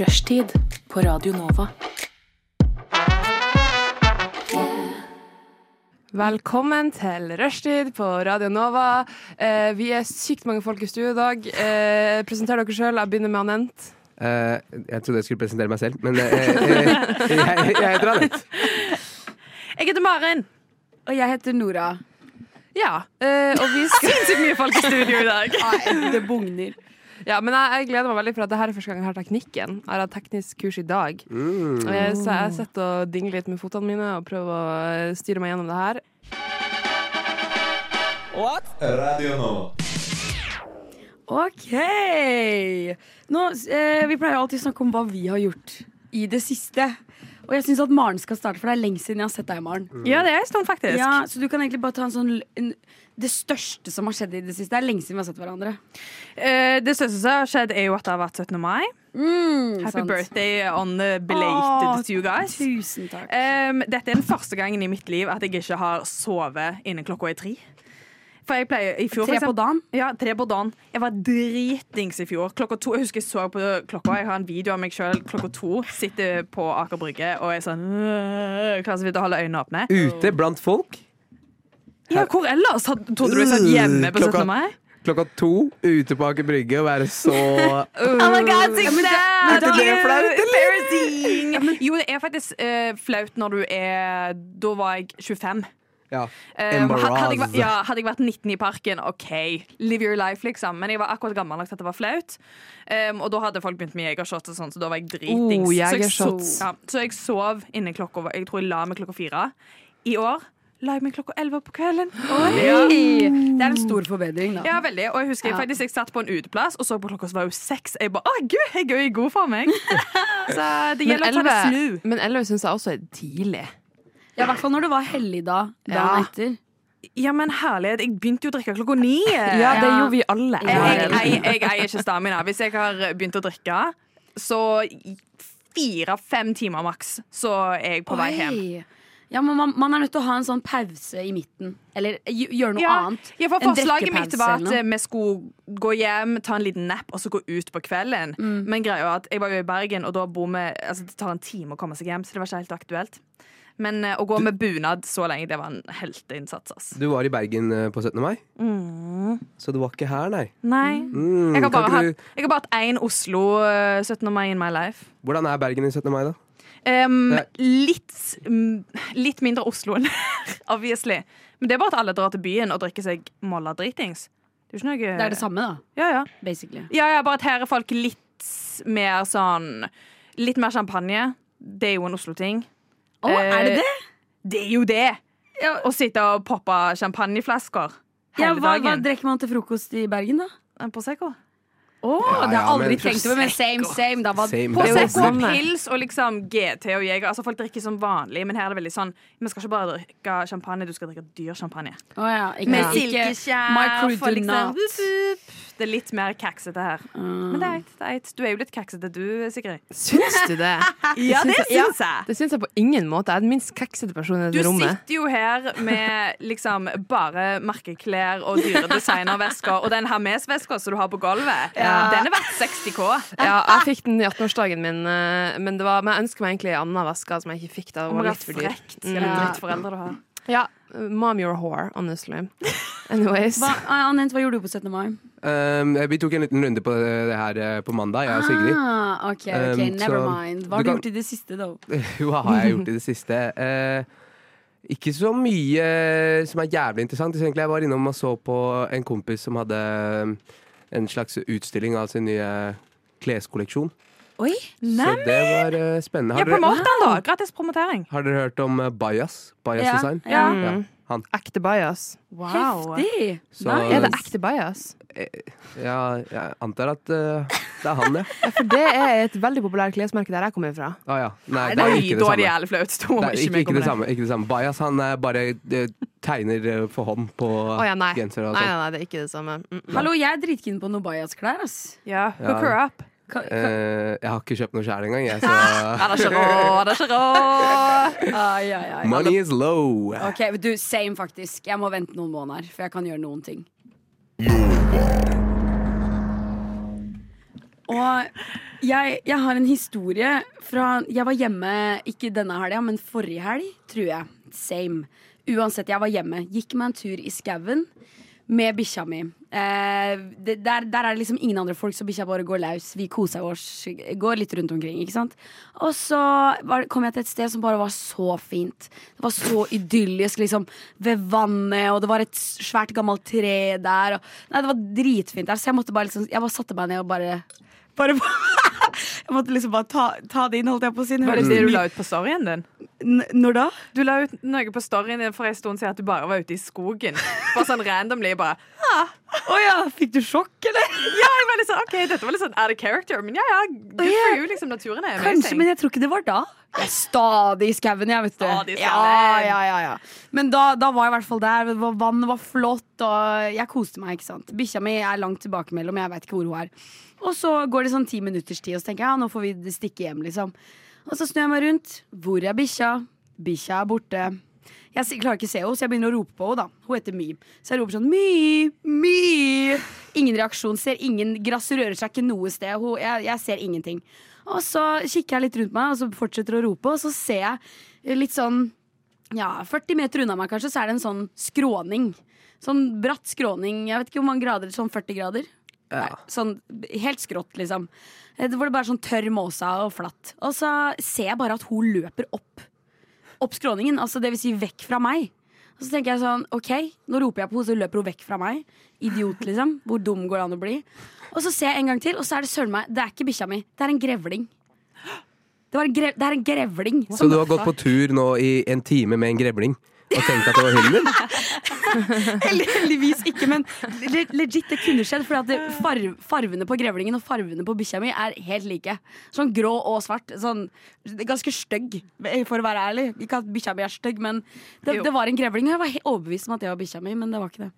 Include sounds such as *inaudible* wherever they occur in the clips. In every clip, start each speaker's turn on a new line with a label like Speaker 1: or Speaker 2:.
Speaker 1: Rushtid på Radio Nova.
Speaker 2: Velkommen til Rushtid på Radio Nova. Eh, vi er sykt mange folk i studio i dag. Eh, presenter dere sjøl. Jeg begynner med Anent.
Speaker 3: Eh, jeg trodde jeg skulle presentere meg selv, men eh, eh, jeg, jeg heter Anette.
Speaker 4: Jeg heter Maren.
Speaker 5: Og jeg heter Nora.
Speaker 2: Ja, eh, og vi skal
Speaker 4: Sinnssykt mye folk i studio i dag.
Speaker 5: Nei, det bugner.
Speaker 2: *laughs* Ja, men jeg, jeg gleder meg veldig for at det her er første gang jeg har teknikken. Jeg har hatt teknisk kurs i dag. Eh, Så jeg sitter og dingler litt med fotene mine og prøver å eh, styre meg gjennom det her.
Speaker 6: Radio Nova.
Speaker 5: OK. Nå, eh, vi pleier alltid å snakke om hva vi har gjort i det siste. Og jeg syns at Maren skal starte, for det er lenge siden jeg har sett deg. Maren
Speaker 4: Ja, det er en stund, faktisk.
Speaker 5: Mm. Ja, Så du kan egentlig bare ta en sånn en, det største som har skjedd i det siste. Det er lenge siden vi har sett hverandre.
Speaker 4: Eh, det største som har skjedd, er jo at det har vært 17. mai. Happy
Speaker 5: Mm, Sant.
Speaker 4: birthday on the
Speaker 5: Åh,
Speaker 4: belated to you guys.
Speaker 5: Tusen takk.
Speaker 4: Em, dette er den første gangen i mitt liv at jeg ikke har sovet innen klokka er tre. For jeg pleier i fjor, for
Speaker 5: Tre på
Speaker 4: eksempel-
Speaker 5: dagen.
Speaker 4: Ja, tre på dagen. Jeg var dritings i fjor. Klokka to, Jeg husker jeg så på klokka. Jeg har en video av meg sjøl klokka to. Sitter på Aker Brygge og er sånn øh, Klarer så vidt å holde øynene åpne.
Speaker 3: Ute blant folk
Speaker 4: Ja, hvor ellers? Had- Trodde du jeg satt hjemme på
Speaker 3: Klokka-
Speaker 4: 17. mai?
Speaker 3: klokka to ute på Aker Brygge og være så
Speaker 4: Oh my god,
Speaker 5: Ja, men det-
Speaker 4: sad!
Speaker 3: men det er
Speaker 4: Ew,
Speaker 3: flaut,
Speaker 4: embarrassing! Jo, det er faktisk eh, flaut når du er Da var jeg 25.
Speaker 3: ja.
Speaker 4: Um, had- hadde, jeg, vært-
Speaker 3: Embarrassed.
Speaker 4: ja, hadde jeg vært 19 i parken, OK, live your life, liksom. Men jeg var akkurat gammel nok til at det var flaut. Um, og da hadde folk begynt med jegershots og sånn, så da var jeg dritings.
Speaker 2: Oh,
Speaker 4: så, jeg
Speaker 2: jegershots.
Speaker 4: ja, så jeg sov innen klokka var- Jeg tror jeg la meg klokka fire. I år la jeg meg klokka elleve på kvelden. Ja.
Speaker 5: Det er en stor forbedring, da.
Speaker 4: Ja, veldig. Og jeg husker jeg faktisk jeg satt på en uteplass og så på klokka, så var jo seks. Jeg bare Å, gud, jeg er jo i god for meg. så det
Speaker 2: Men
Speaker 4: gjelder å ta det snu.
Speaker 2: 11, men 11 syns jeg også er tidlig.
Speaker 5: Ja, I hvert fall når det var helligdag dagen
Speaker 2: Ja.
Speaker 5: etter.
Speaker 4: Ja, men herlighet, jeg begynte jo å drikke klokka ni.
Speaker 2: Ja, det
Speaker 5: Ja.
Speaker 2: gjorde vi alle.
Speaker 4: Jeg, jeg,
Speaker 2: Maren.
Speaker 4: jeg, jeg eier ikke stamina. Hvis jeg har begynt å drikke, så i fire-fem timer maks, så er jeg på vei hjem.
Speaker 5: Oi. Ja, men man, man er nødt til å ha en sånn pause i midten. Eller gj- gjøre noe
Speaker 4: Ja,
Speaker 5: annet.
Speaker 4: ja, for
Speaker 5: En
Speaker 4: forslaget mitt
Speaker 5: drikkepause
Speaker 4: var
Speaker 5: eller
Speaker 4: at
Speaker 5: noe.
Speaker 4: eh, vi skulle gå hjem, ta en liten nap og så gå ut på kvelden.
Speaker 5: Mm.
Speaker 4: Men greia var at jeg var jo i Bergen, og da bor vi, altså, det tar en time å komme seg hjem, så det var ikke helt aktuelt. Men eh, å gå med bunad så lenge, det var en helteinnsats. ass.
Speaker 3: Du var i Bergen eh, på 17. mai, så du var ikke her, nei.
Speaker 4: Nei.
Speaker 3: Mm,
Speaker 4: Jeg har
Speaker 3: kan
Speaker 4: bare
Speaker 3: ikke
Speaker 4: hatt-
Speaker 3: du,
Speaker 4: jeg har bare hatt én Oslo eh, 17. mai in my life.
Speaker 3: hvordan er Bergen i 17. mai, da?
Speaker 4: Um,
Speaker 3: Det-
Speaker 4: litt, mm, litt mindre Oslo enn *laughs* her, obviously. Men det er bare at alle drar til byen og drikker seg molla dritings. Det er jo ikke noe
Speaker 5: Det er det samme, da.
Speaker 4: Ja, ja.
Speaker 5: Basically.
Speaker 4: ja, ja, bare at her er folk litt mer sånn Litt mer champagne. Det er jo en Oslo-ting.
Speaker 5: Å, er det det?
Speaker 4: Det er jo det!
Speaker 5: Ja.
Speaker 4: Å sitte og poppe champagneflasker hele
Speaker 5: Ja, hva, hva
Speaker 4: dagen.
Speaker 5: drikker man til frokost i Bergen, da?
Speaker 4: En Prosecco.
Speaker 5: Å, det har
Speaker 3: ja,
Speaker 5: jeg
Speaker 3: men-
Speaker 5: aldri tenkt over, men same, same. Da var
Speaker 3: Same,
Speaker 5: på
Speaker 3: det er
Speaker 5: seg
Speaker 3: jo
Speaker 4: Prosecco,
Speaker 3: sant,
Speaker 2: det.
Speaker 4: pils og liksom GT og Jeger. Altså Folk drikker som vanlig, men her er det veldig sånn Vi skal ikke bare drikke champagne, du skal drikke dyr champagne.
Speaker 5: Å ja, ikke,
Speaker 4: Med
Speaker 5: ikke
Speaker 4: silkeskjerf
Speaker 5: micro
Speaker 4: og
Speaker 5: do
Speaker 4: liksom
Speaker 5: not.
Speaker 4: vup, vup. Det er litt mer kaksete her.
Speaker 5: Mm.
Speaker 4: Men det er eit, det er eit. Du er jo litt kaksete, du, Sigrid.
Speaker 2: Syns du det? *laughs*
Speaker 4: *laughs* Ja,
Speaker 2: det syns
Speaker 4: jeg.
Speaker 2: Det syns jeg på ingen måte. Jeg er den minst kaksete personen i
Speaker 4: Du
Speaker 2: det rommet.
Speaker 4: sitter jo her med liksom bare merkeklær og dyre designervesker. Og den Hermes-veska som du har på gulvet, den er verdt 60 K.
Speaker 2: Ja, jeg fikk den i 18-årsdagen min, eh, men, det var, men jeg ønsker meg egentlig en annen veske som jeg ikke fikk da. Den var litt for dyr.
Speaker 4: Frekt. Eller Mm. drittforeldre du har.
Speaker 2: Ja, mom you're a whore, honestly. Anyways.
Speaker 5: Hva, ah, Anent, hva gjorde du på 17. mai?
Speaker 3: Um, vi tok en liten runde på det her eh, på mandag, jeg og Sigrid.
Speaker 5: Ah, ok, ok,
Speaker 3: Um,
Speaker 5: never
Speaker 3: så-
Speaker 5: mind. Hva
Speaker 3: du
Speaker 5: har du
Speaker 3: kan-
Speaker 5: gjort i det siste, da?
Speaker 3: *laughs* Hva har jeg gjort i det siste? Eh, ikke så mye eh, som er jævlig interessant. Så egentlig jeg var innom og så på en kompis som hadde eh, en slags utstilling av sin nye kleskolleksjon.
Speaker 5: Oi!
Speaker 3: Så det var eh, spennende.
Speaker 4: Ja,
Speaker 3: Har dere,
Speaker 4: promoter den, da. Gratis promotering.
Speaker 3: har dere hørt om eh, Bias? Bias
Speaker 5: Ja,
Speaker 3: Design?
Speaker 5: ja.
Speaker 3: Ja, han.
Speaker 2: Ekte Mm. bias.
Speaker 5: Heftig!
Speaker 3: Så
Speaker 2: Er det ekte bias?
Speaker 3: ja, jeg antar at eh, det er han, ja.
Speaker 2: For det er et veldig populært klesmerke der jeg kommer fra.
Speaker 3: Å ja. Nei, det er
Speaker 4: Oi,
Speaker 3: ikke det
Speaker 4: da er det
Speaker 3: samme.
Speaker 4: jævlig flaut. Da må
Speaker 3: Det er
Speaker 4: ikke
Speaker 3: ikke,
Speaker 4: vi
Speaker 3: ikke,
Speaker 4: komme
Speaker 3: det
Speaker 4: der.
Speaker 3: samme, ikke det samme. Bias han eh, bare eh, tegner eh, for hånd på
Speaker 2: Å ja, nei. Nei,
Speaker 3: genser og
Speaker 2: nei,
Speaker 3: sånn.
Speaker 2: nei, det er ikke det samme. Mm, mm.
Speaker 5: Hallo, jeg er dritkeen på noe Bajas-klær, ass.
Speaker 4: Ja, hook her up.
Speaker 5: Ka- ka-
Speaker 3: Eh, jeg har ikke kjøpt noe sjæl engang, jeg, så
Speaker 4: Er det ikke råd? Er det ikke råd?
Speaker 5: Ai, ai, ai.
Speaker 3: Money is low.
Speaker 5: Ok, du, Same, faktisk. Jeg må vente noen måneder, for jeg kan gjøre noen ting. Og jeg, jeg har en historie fra Jeg var hjemme, ikke denne helga, men forrige helg, tror jeg. Same. Uansett, jeg var hjemme. Gikk meg en tur i skauen med bikkja mi. Eh, det, der, der er det liksom ingen andre folk, så bikkja bare går løs. Vi koser oss, går litt rundt omkring. ikke sant? Og så var, kom jeg til et sted som bare var så fint. Det var så idyllisk, liksom. Ved vannet, og det var et svært gammelt tre der. Og, nei, det var dritfint der, så jeg måtte bare liksom Jeg bare satte meg ned og bare Bare *laughs* Jeg måtte liksom bare ta, ta det inn, holdt jeg på å si. Det
Speaker 4: Var
Speaker 5: høres
Speaker 4: det det du
Speaker 5: mye-
Speaker 4: la ut på storyen din?
Speaker 5: N- Når da?
Speaker 4: Du la ut noe på storyen din for en stund siden at du bare var ute i skogen. Bare sånn randomly. bare
Speaker 5: Å ja, fikk du sjokk, eller?
Speaker 4: Ja, jeg var litt sånn, ok, dette var litt sånn out of character, men ja, ja, good for you, liksom, naturen er amazing.
Speaker 5: Kanskje, men jeg tror ikke det var da. Jeg er stadig i skauen, jeg, vet du.
Speaker 4: Stadig i
Speaker 5: ja,
Speaker 4: skauen.
Speaker 5: ja, ja, ja. Men da, da var jeg i hvert fall der. Det var- Vannet var flott, og jeg koste meg. ikke sant? Bikkja mi er langt tilbake mellom, jeg veit ikke hvor hun er. Og så går det sånn ti minutters tid, og så tenker jeg ja, nå får vi stikke hjem, liksom. Og så snur jeg meg rundt. Hvor er bikkja? Bikkja er borte. Jeg s- klarer ikke å se henne, så jeg begynner å rope på henne. da Hun heter My. Så jeg roper sånn My, My. Ingen reaksjon. Ser ingen Grass rører seg ikke noe sted. Hun, jeg, jeg ser ingenting. Og så kikker jeg litt rundt meg, og så fortsetter å rope, og så ser jeg eh, litt sånn ja, 40 meter unna meg kanskje, så er det en sånn skråning. Sånn bratt skråning. Jeg vet ikke hvor mange grader. Sånn 40 grader.
Speaker 3: Ja.
Speaker 5: Nei, sånn helt skrått, liksom. Eh, Det var det bare sånn tørr måsa og flatt. Og så ser jeg bare at hun løper opp. Opp skråningen, altså det vil si vekk fra meg. Og så tenker jeg sånn, ok, nå roper jeg på henne, så løper hun vekk fra meg. Idiot, liksom. Hvor dum går det an å bli? Og så ser jeg en gang til, og så er det søren meg, det er ikke bikkja mi, det er en grevling. Det, var en grev, det er en grevling.
Speaker 3: Så du har gått på tur nå i en time med en grevling og tenkt at det var hunden din?
Speaker 5: *laughs* Hell- Heldigvis ikke, men le- legit, det kunne skjedd. For farv, farvene på grevlingen og farvene på bikkja mi er helt like. Sånn grå og svart. Sånn, ganske stygg, for å være ærlig. Ikke at bikkja mi er stygg, men det,
Speaker 4: Jo.
Speaker 5: det var en grevling. Og jeg var he- overbevist om at det var bikkja mi, men det var ikke det.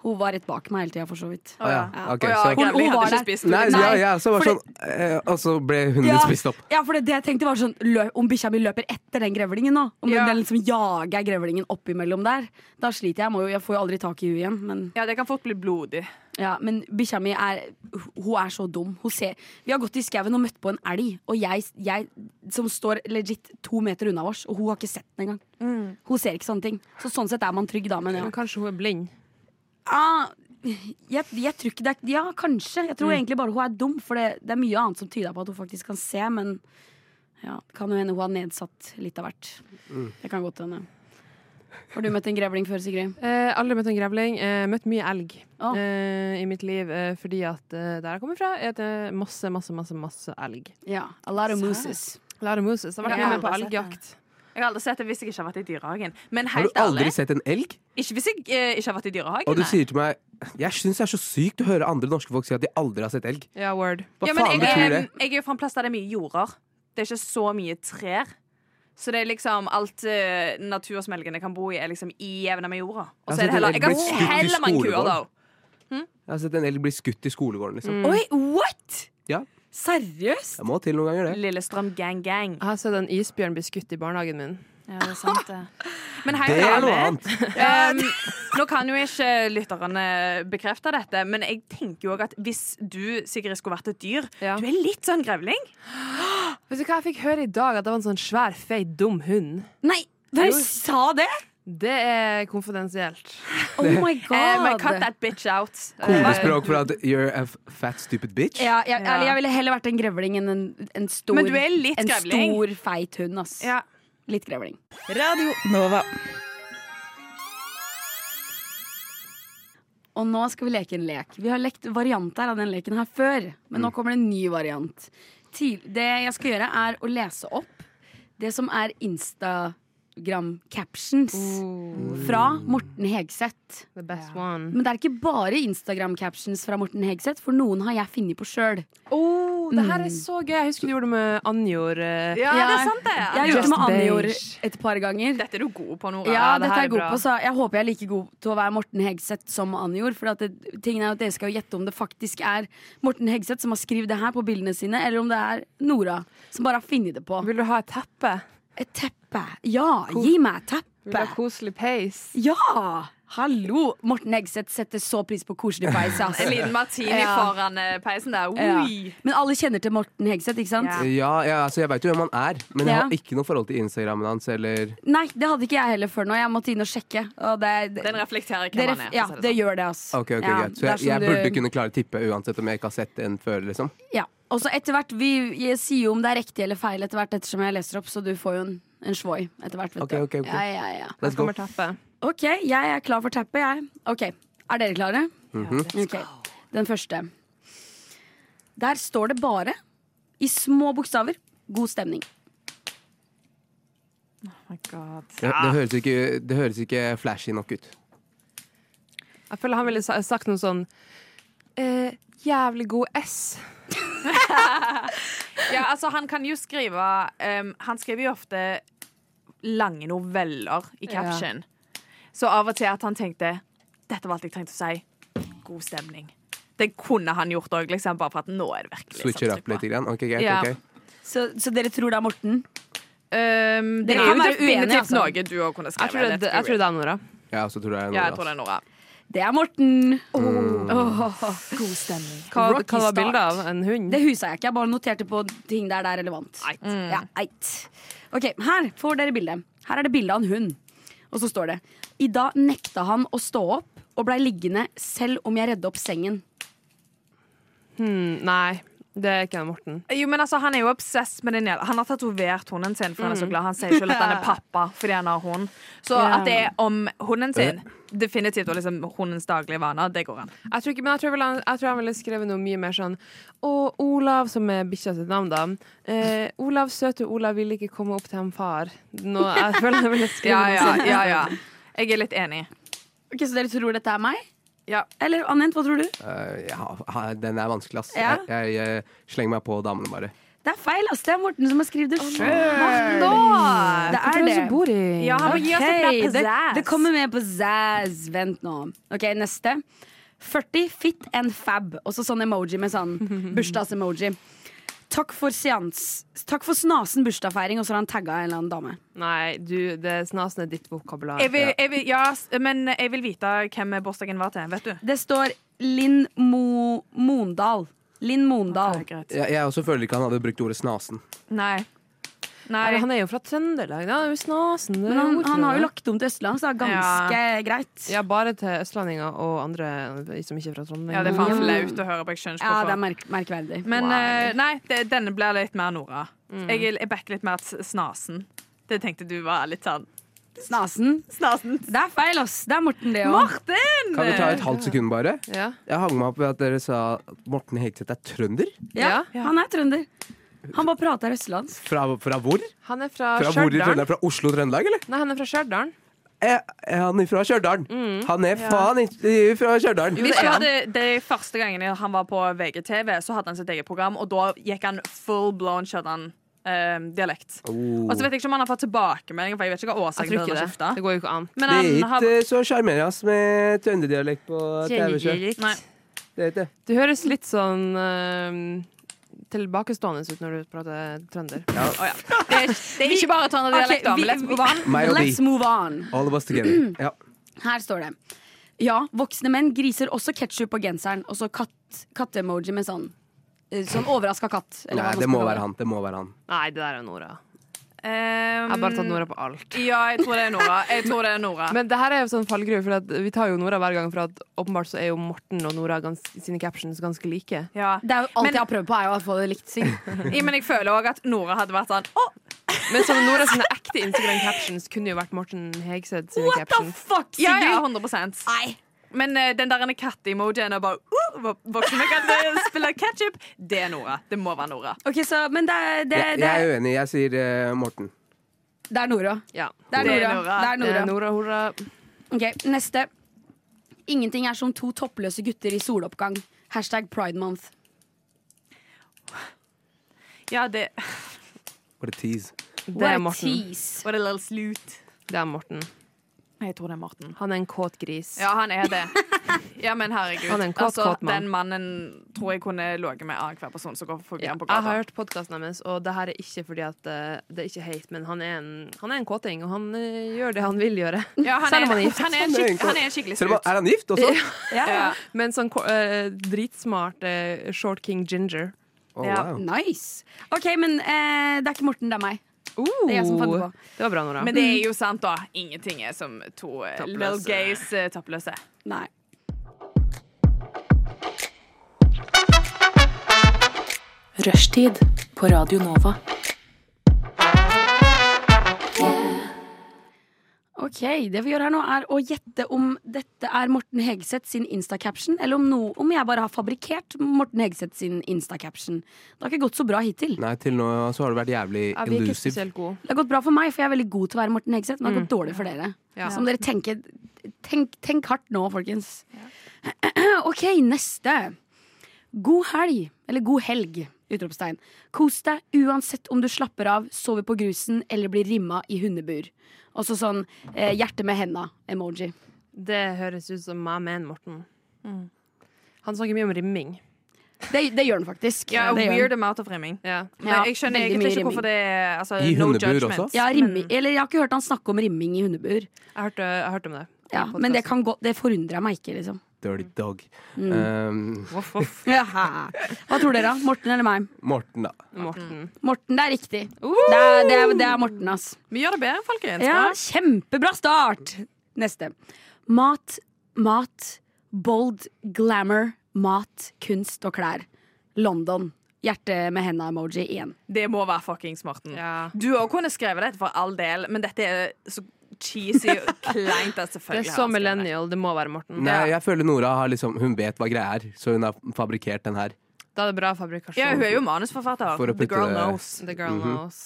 Speaker 5: Hun var rett bak meg hele tida, for så vidt.
Speaker 3: Å ja. Ok,
Speaker 4: *laughs* Å ja,
Speaker 3: så-
Speaker 4: grevling
Speaker 5: Hun- hun var
Speaker 4: hadde
Speaker 5: der.
Speaker 4: ikke spist
Speaker 3: Nei,
Speaker 4: noe.
Speaker 5: Nei,
Speaker 3: ja, ja, så var det
Speaker 5: fordi-
Speaker 3: sånn, eh, og så ble hunden
Speaker 5: Ja,
Speaker 3: din spist opp.
Speaker 5: ja, for det, det jeg tenkte var sånn lø, Om bikkja mi løper etter den grevlingen nå, om
Speaker 4: Ja.
Speaker 5: den liksom jager grevlingen oppimellom der, da sliter jeg. Jeg, må jo, jeg får jo aldri tak i henne igjen. Men
Speaker 4: Ja, det kan fort bli blodig.
Speaker 5: Ja, men bikkja mi er Hun er så dum. Hun ser, vi har gått i skauen og møtt på en elg, og jeg, jeg som står legit to meter unna oss, og hun har ikke sett den engang. Hun ser ikke sånne ting. Så sånn sett er man trygg da, men ja.
Speaker 2: Men kanskje hun er blind.
Speaker 5: Ah, jeg, jeg tror ikke det er Ja, kanskje. Jeg tror egentlig bare hun er dum, for det, det er mye annet som tyder på at hun faktisk kan se, men ja, kan jo hende hun har nedsatt litt av hvert. Det kan godt hende. Har du møtt en grevling før, Sigrid?
Speaker 2: Eh, aldri møtt en grevling. Eh, møtt mye elg
Speaker 5: Å.
Speaker 2: eh, i mitt liv eh, fordi at eh, der jeg kommer fra, er det masse, masse, masse, masse elg.
Speaker 5: Ja. A lot of mooses.
Speaker 2: Lara Moses har vært
Speaker 5: Ja.
Speaker 2: mye med på elgjakt.
Speaker 4: Jeg har aldri sett det hvis jeg ikke har vært i dyrehagen. Men
Speaker 3: Har du
Speaker 4: helt
Speaker 3: aldri
Speaker 4: ærlig,
Speaker 3: sett en elg?
Speaker 4: ikke hvis jeg eh, ikke har vært i
Speaker 3: Og
Speaker 4: dyrehagen.
Speaker 3: du
Speaker 4: nei.
Speaker 3: sier til meg Jeg syns det er så sykt å høre andre norske folk si at de aldri har sett elg.
Speaker 2: Ja, word.
Speaker 3: Hva
Speaker 4: ja, men
Speaker 3: faen
Speaker 4: jeg,
Speaker 3: betyr det?
Speaker 4: eh, Jeg er jo fra en plass der det er mye jorder. Det er ikke så mye trær. Så det er liksom alt eh, natursmelgene kan bo i, er liksom i jevne med jorda. Og
Speaker 3: Altså,
Speaker 4: så er det heller
Speaker 3: det
Speaker 4: Jeg
Speaker 3: er blitt skutt i
Speaker 4: har heller mange kuer, da.
Speaker 3: skolegården. Jeg har sett en elg bli skutt i skolegården,
Speaker 4: Mm.
Speaker 3: liksom.
Speaker 5: Oi, what?!
Speaker 3: Ja.
Speaker 5: Seriøst?
Speaker 3: Jeg må til noen ganger, det.
Speaker 4: Lillestrøm gang gang.
Speaker 3: Ah,
Speaker 2: Jeg har sett en isbjørn bli skutt i barnehagen min.
Speaker 4: Ja, det er sant, det. Men helt
Speaker 3: Det er noe
Speaker 4: ærlig,
Speaker 3: annet.
Speaker 4: Um, nå kan jo ikke lytterne bekrefte dette, men jeg tenker jo også at hvis du Sigrid, skulle vært et dyr
Speaker 2: Ja.
Speaker 4: Du er litt sånn grevling.
Speaker 2: Vet du hva jeg fikk høre i dag? At det var en sånn svær, feit, dum hund.
Speaker 5: Nei, dere sa det?
Speaker 2: Det er konfidensielt.
Speaker 5: Oh my
Speaker 4: Eh, men cut
Speaker 5: god.
Speaker 4: that bitch out.
Speaker 3: Kodespråk for at you're a f- fat stupid bitch.
Speaker 5: Ja, jeg,
Speaker 4: Eh, Ja.
Speaker 5: eller jeg ville heller vært en grevling enn en, en stor
Speaker 4: Men du er litt
Speaker 5: En
Speaker 4: grevling.
Speaker 5: stor, feit hund, ass.
Speaker 4: Eh, ja.
Speaker 5: Litt grevling.
Speaker 7: Radio Nova.
Speaker 5: Og nå skal vi leke en lek. Vi har lekt varianter av den leken her før, men
Speaker 2: Mm.
Speaker 5: nå kommer det en ny variant. Til, det jeg skal gjøre, er å lese opp det som er Instagram-captions fra Morten Hegseth.
Speaker 2: The best one.
Speaker 5: Men det er ikke bare Instagram-captions fra Morten Hegseth, for noen har jeg funnet på sjøl.
Speaker 2: Oh, det her er så gøy. Jeg husker du gjorde det med Anjor. eh.
Speaker 4: ja, det er sant, det.
Speaker 5: Jeg har gjort det med
Speaker 2: Ah, Just
Speaker 5: Anjor
Speaker 2: beige.
Speaker 5: et par ganger.
Speaker 4: Dette er du god på, Nora.
Speaker 5: Ja,
Speaker 2: det
Speaker 5: dette er
Speaker 2: her er
Speaker 5: jeg god
Speaker 2: bra.
Speaker 5: på, så jeg håper jeg er like god til å være Morten Hegseth som Anjor. For at det, tingen er jo at dere skal jo gjette om det faktisk er Morten Hegseth som har skrevet det her på bildene sine, eller om det er Nora som bare har funnet det på.
Speaker 2: Vil du ha et teppe?
Speaker 5: Et teppe. Ja, gi meg et
Speaker 2: Vil du ha
Speaker 5: teppe.
Speaker 2: koselig peis?
Speaker 5: Ja! Hallo! Morten Hegseth setter så pris på
Speaker 2: *laughs*
Speaker 5: koselig peis. ass.
Speaker 4: En liten martini
Speaker 5: sånn. Ja.
Speaker 4: foran eh, peisen der.
Speaker 5: Ja.
Speaker 4: Ui.
Speaker 5: Men alle kjenner til Morten Hegseth, ikke sant?
Speaker 4: Ja.
Speaker 3: Ja, ja altså jeg veit jo hvem han er, men jeg
Speaker 5: Ja.
Speaker 3: har ikke noe forhold til Instagrammen hans eller
Speaker 5: Nei, det hadde ikke jeg heller før nå. Jeg måtte inn og sjekke. Og det, det,
Speaker 4: Den reflekterer
Speaker 5: det
Speaker 4: hvem han
Speaker 5: ref-
Speaker 4: er.
Speaker 5: ja,
Speaker 4: for å si
Speaker 5: det
Speaker 4: det sånn.
Speaker 5: gjør det, ass.
Speaker 3: Ok, ok,
Speaker 5: ja,
Speaker 3: greit. Så jeg,
Speaker 5: dersom
Speaker 3: jeg burde
Speaker 5: du-
Speaker 3: kunne klare å tippe uansett om jeg ikke har sett den før, liksom.
Speaker 5: Ja. Og så etter hvert, vi jeg sier jo om det er riktig eller feil etter hvert ettersom jeg leser opp, så du får jo en, en svoi etter hvert, vet
Speaker 3: Ok,
Speaker 5: du.
Speaker 3: ok, ok.
Speaker 5: Ja, ja, ja.
Speaker 3: Let's go.
Speaker 2: Kommer teppet.
Speaker 5: Ok, jeg er klar for tappet, jeg. Ok, Er dere klare?
Speaker 4: Let's
Speaker 5: Ok, Den første. Der står det bare, i små bokstaver, god stemning.
Speaker 4: Oh my God.
Speaker 3: Ja, det, høres ikke, det høres ikke flashy nok ut.
Speaker 2: Jeg føler han ville sa- sagt noe sånn eh, Jævlig god S.
Speaker 4: Ja, altså han kan jo skrive ehm, Han skriver jo ofte lange noveller i caption. Så av og til at han tenkte Dette var alt jeg trengte å si. God stemning. Det kunne han gjort òg, liksom, bare for at nå er det virkelig
Speaker 3: Switcher
Speaker 4: satt
Speaker 3: opp litt. Grann. Ok, greit,
Speaker 4: Ja.
Speaker 3: ok.
Speaker 5: Så, så dere tror det er Morten?
Speaker 4: Ehm, det
Speaker 5: Dere
Speaker 4: er
Speaker 5: kan
Speaker 4: jo
Speaker 5: være uenige,
Speaker 4: definitivt
Speaker 5: altså.
Speaker 4: noe du òg kunne
Speaker 2: Jeg
Speaker 4: skrevet.
Speaker 2: tror det,
Speaker 4: det
Speaker 2: jeg tror det er Nora.
Speaker 3: Ja, så tror jeg
Speaker 4: Ja, jeg tror det er Nora.
Speaker 5: Det er Morten!
Speaker 4: God stemning.
Speaker 2: Hva,
Speaker 5: Rocky
Speaker 2: hva var
Speaker 5: start.
Speaker 2: bildet av? En hund?
Speaker 5: Det husa jeg ikke. Jeg bare noterte på ting der det er relevant. Ja, eit. Ok, Her får dere bildet. Her er det bilde av en hund. Og så står det I dag nekta han å stå opp og blei liggende selv om jeg redde opp sengen.
Speaker 2: Hmm, nei, det er ikke en Morten.
Speaker 4: Jo, men altså, Han er jo obsess med den jævla Han har tatovert hunden sin, for han er så glad. Han sier selv at
Speaker 5: *laughs*
Speaker 4: han er pappa fordi han har hund. Så
Speaker 5: Mm. Ja.
Speaker 4: at det er om hunden sin, definitivt, og liksom hundens daglige vaner, det går an.
Speaker 2: Jeg tror, ikke, men jeg tror, vel han, jeg tror han ville skrevet noe mye mer sånn Å, Olav, som er bikkja sitt navn, da. Eh, Olav, søte Olav, ville ikke komme opp til ham far. Nå, jeg føler han ville skrevet
Speaker 4: Ja,
Speaker 2: noe sånn.
Speaker 4: ja,
Speaker 2: sånt.
Speaker 4: ja, ja. Jeg er litt enig.
Speaker 5: Ok, Så dere tror dette er meg?
Speaker 4: Ja.
Speaker 5: Eller Anent, hva tror du?
Speaker 3: Eh, ja, ha- den er vanskelig, ass.
Speaker 5: Ja.
Speaker 3: Jeg, jeg, eh, slenger meg på damene, bare.
Speaker 5: Det er feil, ass. Det er Morten som har skrevet det sjøl.
Speaker 4: Nå!
Speaker 5: Det
Speaker 2: Hvorfor
Speaker 5: er det.
Speaker 2: så bor i
Speaker 4: Ja, han må gi oss et
Speaker 5: Ok,
Speaker 4: mer
Speaker 5: det,
Speaker 4: pizzazz.
Speaker 5: det kommer med på zazz. Vent nå. Ok, neste. 40 fit and fab. Og så sånn emoji med sånn bursdags-emoji. Takk for seans. Takk for snasen bursdagsfeiring, og så har han tagga en eller annen dame.
Speaker 2: Nei, du, det er snasen er ditt vokabular.
Speaker 4: Jeg vil, jeg vil, ja, s- men jeg vil vite hvem bursdagen var til. Vet du?
Speaker 5: Det står Linn Mo Mondal. Linn Mondal.
Speaker 4: greit.
Speaker 3: Jeg, jeg også føler ikke han hadde brukt ordet snasen.
Speaker 4: Nei. Nei.
Speaker 2: Nei, Han er jo fra Trøndelag. Da. Han er jo snasen. det er
Speaker 5: Men han,
Speaker 2: ordentlig,
Speaker 5: han har jo
Speaker 2: det.
Speaker 5: lagt om til Østland, så det er ganske greit.
Speaker 2: Ja, bare til østlendinger og andre som ikke er fra Trondheim.
Speaker 4: Ja, det er faen flaut å høre på. Jeg skjønner ikke
Speaker 5: Ja, det er
Speaker 4: hvorfor.
Speaker 5: merk merkverdig.
Speaker 4: Men eh, nei, det, denne blir litt mer Nora. Jeg, jeg backer litt mer s- snasen. Det tenkte du var litt sånn
Speaker 5: Snasen.
Speaker 4: Snasen.
Speaker 5: Det er feil, ass. Det er Morten, det òg.
Speaker 4: Martin!
Speaker 3: Kan vi ta et halvt sekund, bare?
Speaker 2: Ja.
Speaker 3: Jeg hang meg opp ved at dere sa at Morten Hegseth er trønder.
Speaker 5: Ja,
Speaker 4: Ja.
Speaker 5: han er trønder. Han bare prater østlandsk.
Speaker 3: Fra, fra hvor?
Speaker 2: Han er fra,
Speaker 3: Fra hvor i
Speaker 2: Stjørdal.
Speaker 3: Trøndelag? Fra Oslo og Trøndelag, eller?
Speaker 2: Nei, han er fra Stjørdal.
Speaker 3: Er, er han fra Stjørdal? Han er faen ikke fra Stjørdal!
Speaker 4: Hvis du hadde, de sånn. første gangene han var på VGTV, så hadde han sitt eget program, og da gikk han full blown Stjørdal. ehm, dialekt.
Speaker 3: Oh.
Speaker 4: Og så vet jeg ikke om han har fått tilbakemeldinger, for jeg vet ikke hva
Speaker 2: Jeg
Speaker 4: årsaken
Speaker 2: tror
Speaker 4: til
Speaker 2: ikke
Speaker 4: at han
Speaker 2: det.
Speaker 4: skifta.
Speaker 2: Det går jo ikke an.
Speaker 4: Men
Speaker 3: Det er
Speaker 4: han har
Speaker 3: ikke eh, så sjarmerende ass, med trønderdialekt på TV. selv.
Speaker 4: Nei.
Speaker 3: Det er ikke det.
Speaker 2: Du høres litt sånn eh, tilbakestående ut når du prater trønder.
Speaker 4: Å ja. det, er, det er ikke bare
Speaker 5: Ok,
Speaker 4: trønderdialekt, da,
Speaker 5: vi-
Speaker 4: men let's move on.
Speaker 3: Meg og
Speaker 5: Let's
Speaker 3: de.
Speaker 5: move on.
Speaker 3: All of us together. Ja.
Speaker 5: Her står det. Ja, voksne menn griser også ketsjup på genseren, og så katt- kattemoji med sånn eh, Sånn overraska katt. eller hva man
Speaker 3: Nei, det
Speaker 5: skal
Speaker 3: må
Speaker 5: kalle
Speaker 3: være han. Det må være han.
Speaker 2: Nei, det der er Nora. Jeg har
Speaker 4: Um,
Speaker 2: bare tatt Nora på alt.
Speaker 4: Ja, jeg tror det er Nora. Jeg tror det er Nora.
Speaker 2: Mm. Men det her er jo sånn fallgruve, for at vi tar jo Nora hver gang. For at åpenbart så er jo Morten og Nora gans sine captions ganske like.
Speaker 4: ja.
Speaker 5: Det er jo alt
Speaker 4: Men-
Speaker 5: jeg har prøvd på, er jo å få det likt.
Speaker 3: *laughs*
Speaker 5: Syng.
Speaker 4: Ja, men jeg føler òg at Nora hadde vært sånn Å,
Speaker 2: Men sånn Nora sine ekte Instagram-captions kunne jo vært Morten Hegseth sine
Speaker 5: What the
Speaker 2: captions.
Speaker 5: fuck,
Speaker 4: ja,
Speaker 5: Sigrid?
Speaker 4: ja, 100
Speaker 5: Nei.
Speaker 4: Men eh, den der katte-emojien og bare uh, vok- Voksne med katt spiller ketchup, det er Nora. Det må være Nora.
Speaker 5: Ok, så, Men det er, det,
Speaker 3: Jeg,
Speaker 5: Eh, det,
Speaker 3: jeg er uenig. Jeg sier eh, Morten.
Speaker 5: det er Nora.
Speaker 2: Ja.
Speaker 5: Det er
Speaker 4: Det er
Speaker 5: Nora.
Speaker 4: Nora.
Speaker 5: Det er Nora.
Speaker 2: Eh, Nora, hurra.
Speaker 5: Ok, Neste. Ingenting er som to toppløse gutter i soloppgang. Hashtag pride month.
Speaker 4: Ja, det
Speaker 3: For the tease.
Speaker 2: Det
Speaker 5: What
Speaker 2: er
Speaker 5: a
Speaker 2: Morten.
Speaker 5: tease.
Speaker 4: What a little slut.
Speaker 2: Det er Morten.
Speaker 4: Jeg tror det er Morten.
Speaker 2: Han er en kåt gris.
Speaker 4: Ja, han er det. Ja, men herregud.
Speaker 2: Han er en kåt,
Speaker 4: altså,
Speaker 2: kåt mann.
Speaker 4: Den mannen tror jeg kunne ligget med annenhver person som går forbi
Speaker 2: Ja,
Speaker 4: ham på
Speaker 2: jeg har
Speaker 4: gata.
Speaker 2: hørt podkasten hennes, og det her er ikke fordi at eh, det er ikke hate, men han er en, han er en kåting, og han eh, gjør det han vil
Speaker 4: *laughs*
Speaker 2: gjøre.
Speaker 4: Ja, han,
Speaker 2: Selv
Speaker 4: er,
Speaker 2: om han er gift.
Speaker 4: han, er en
Speaker 3: Han er en
Speaker 4: skikk-
Speaker 3: kåt.
Speaker 4: han er en skikkelig
Speaker 3: Selv om
Speaker 4: slut.
Speaker 3: han- Er han gift også?
Speaker 4: Ja.
Speaker 2: Men sånn ko- eh, dritsmart eh, short king ginger.
Speaker 3: Å,
Speaker 4: Ja.
Speaker 3: wow.
Speaker 5: Nice. OK, men eh, det er ikke Morten, det er meg. Det er jeg som fant det på.
Speaker 2: Det var bra, Nora.
Speaker 4: Men det er jo sant, da. Ingenting er som to eh,
Speaker 2: Toppløse.
Speaker 4: little gays eh, toppløse.
Speaker 5: Nei.
Speaker 1: Rushtid på Radio Nova.
Speaker 5: Ok, Det vi gjør her nå, er å gjette om dette er Morten Hegseth sin Insta-caption, eller om, no, om jeg bare har fabrikkert Morten Hegseth sin Insta-caption. Det har ikke gått så bra hittil.
Speaker 3: Nei, til nå så har du vært jævlig
Speaker 2: ja, vi er ikke
Speaker 3: elusive.
Speaker 2: spesielt gode.
Speaker 5: Det har gått bra for meg, for jeg er veldig god til å være Morten Hegseth. Men det har gått dårlig for dere.
Speaker 2: Ja.
Speaker 5: Så om dere tenker tenk, tenk hardt nå, folkens. *clears throat* OK, neste. God helg. Eller god helg. Utropstegn. Kos deg uansett om du slapper av, sover på grusen eller blir rimma i hundebur. Og så sånn eh, hjerte med henda-emoji.
Speaker 2: Det høres ut som my man Morten.
Speaker 4: Mm.
Speaker 2: Han snakker mye om rimming.
Speaker 5: Det, det gjør den faktisk.
Speaker 4: Ja,
Speaker 5: det gjør den.
Speaker 4: weird amount of rimming.
Speaker 2: Ja.
Speaker 4: Men
Speaker 5: Ja,
Speaker 4: jeg skjønner
Speaker 5: veldig
Speaker 4: egentlig
Speaker 5: mye
Speaker 4: ikke hvorfor det er altså,
Speaker 3: I
Speaker 4: no
Speaker 3: hundebur
Speaker 4: judgment.
Speaker 3: også?
Speaker 5: Ja, rimming. Eller jeg har ikke hørt han snakke om rimming i hundebur.
Speaker 2: Jeg hørte, jeg hørte om det. i
Speaker 5: Ja,
Speaker 2: podcasten.
Speaker 5: men det, kan gå, det forundrer meg ikke, liksom.
Speaker 3: Dirty dog. Um,
Speaker 2: Voff, voff,
Speaker 5: Hva tror dere, da? Morten eller meg?
Speaker 3: Morten, da.
Speaker 2: Morten.
Speaker 5: Morten, det er riktig. Det, er, det, er, det er Morten, ass.
Speaker 4: Vi gjør det bedre, folkens.
Speaker 5: Ja,
Speaker 4: Bra.
Speaker 5: kjempebra start! Neste. Mat, mat, bold, glamour, mat, kunst og klær. London. Hjerte med henda-emoji igjen.
Speaker 4: Det må være fuckings Morten.
Speaker 2: Ja.
Speaker 4: Du òg kunne skrevet dette for all del, men dette er så cheesy *laughs* og kleint. at
Speaker 2: Det er
Speaker 4: selvfølgelig har
Speaker 2: så
Speaker 4: han skrevet det.
Speaker 2: millennial. Det må være Morten.
Speaker 3: Nei, jeg føler Nora har liksom Hun vet hva greia er, så hun har fabrikkert den her.
Speaker 2: Da er det bra fabrikasjon.
Speaker 4: Ja, hun er jo manusforfatter.
Speaker 3: For å
Speaker 4: The
Speaker 3: putte
Speaker 4: girl
Speaker 3: det-
Speaker 4: knows.
Speaker 2: The girl knows.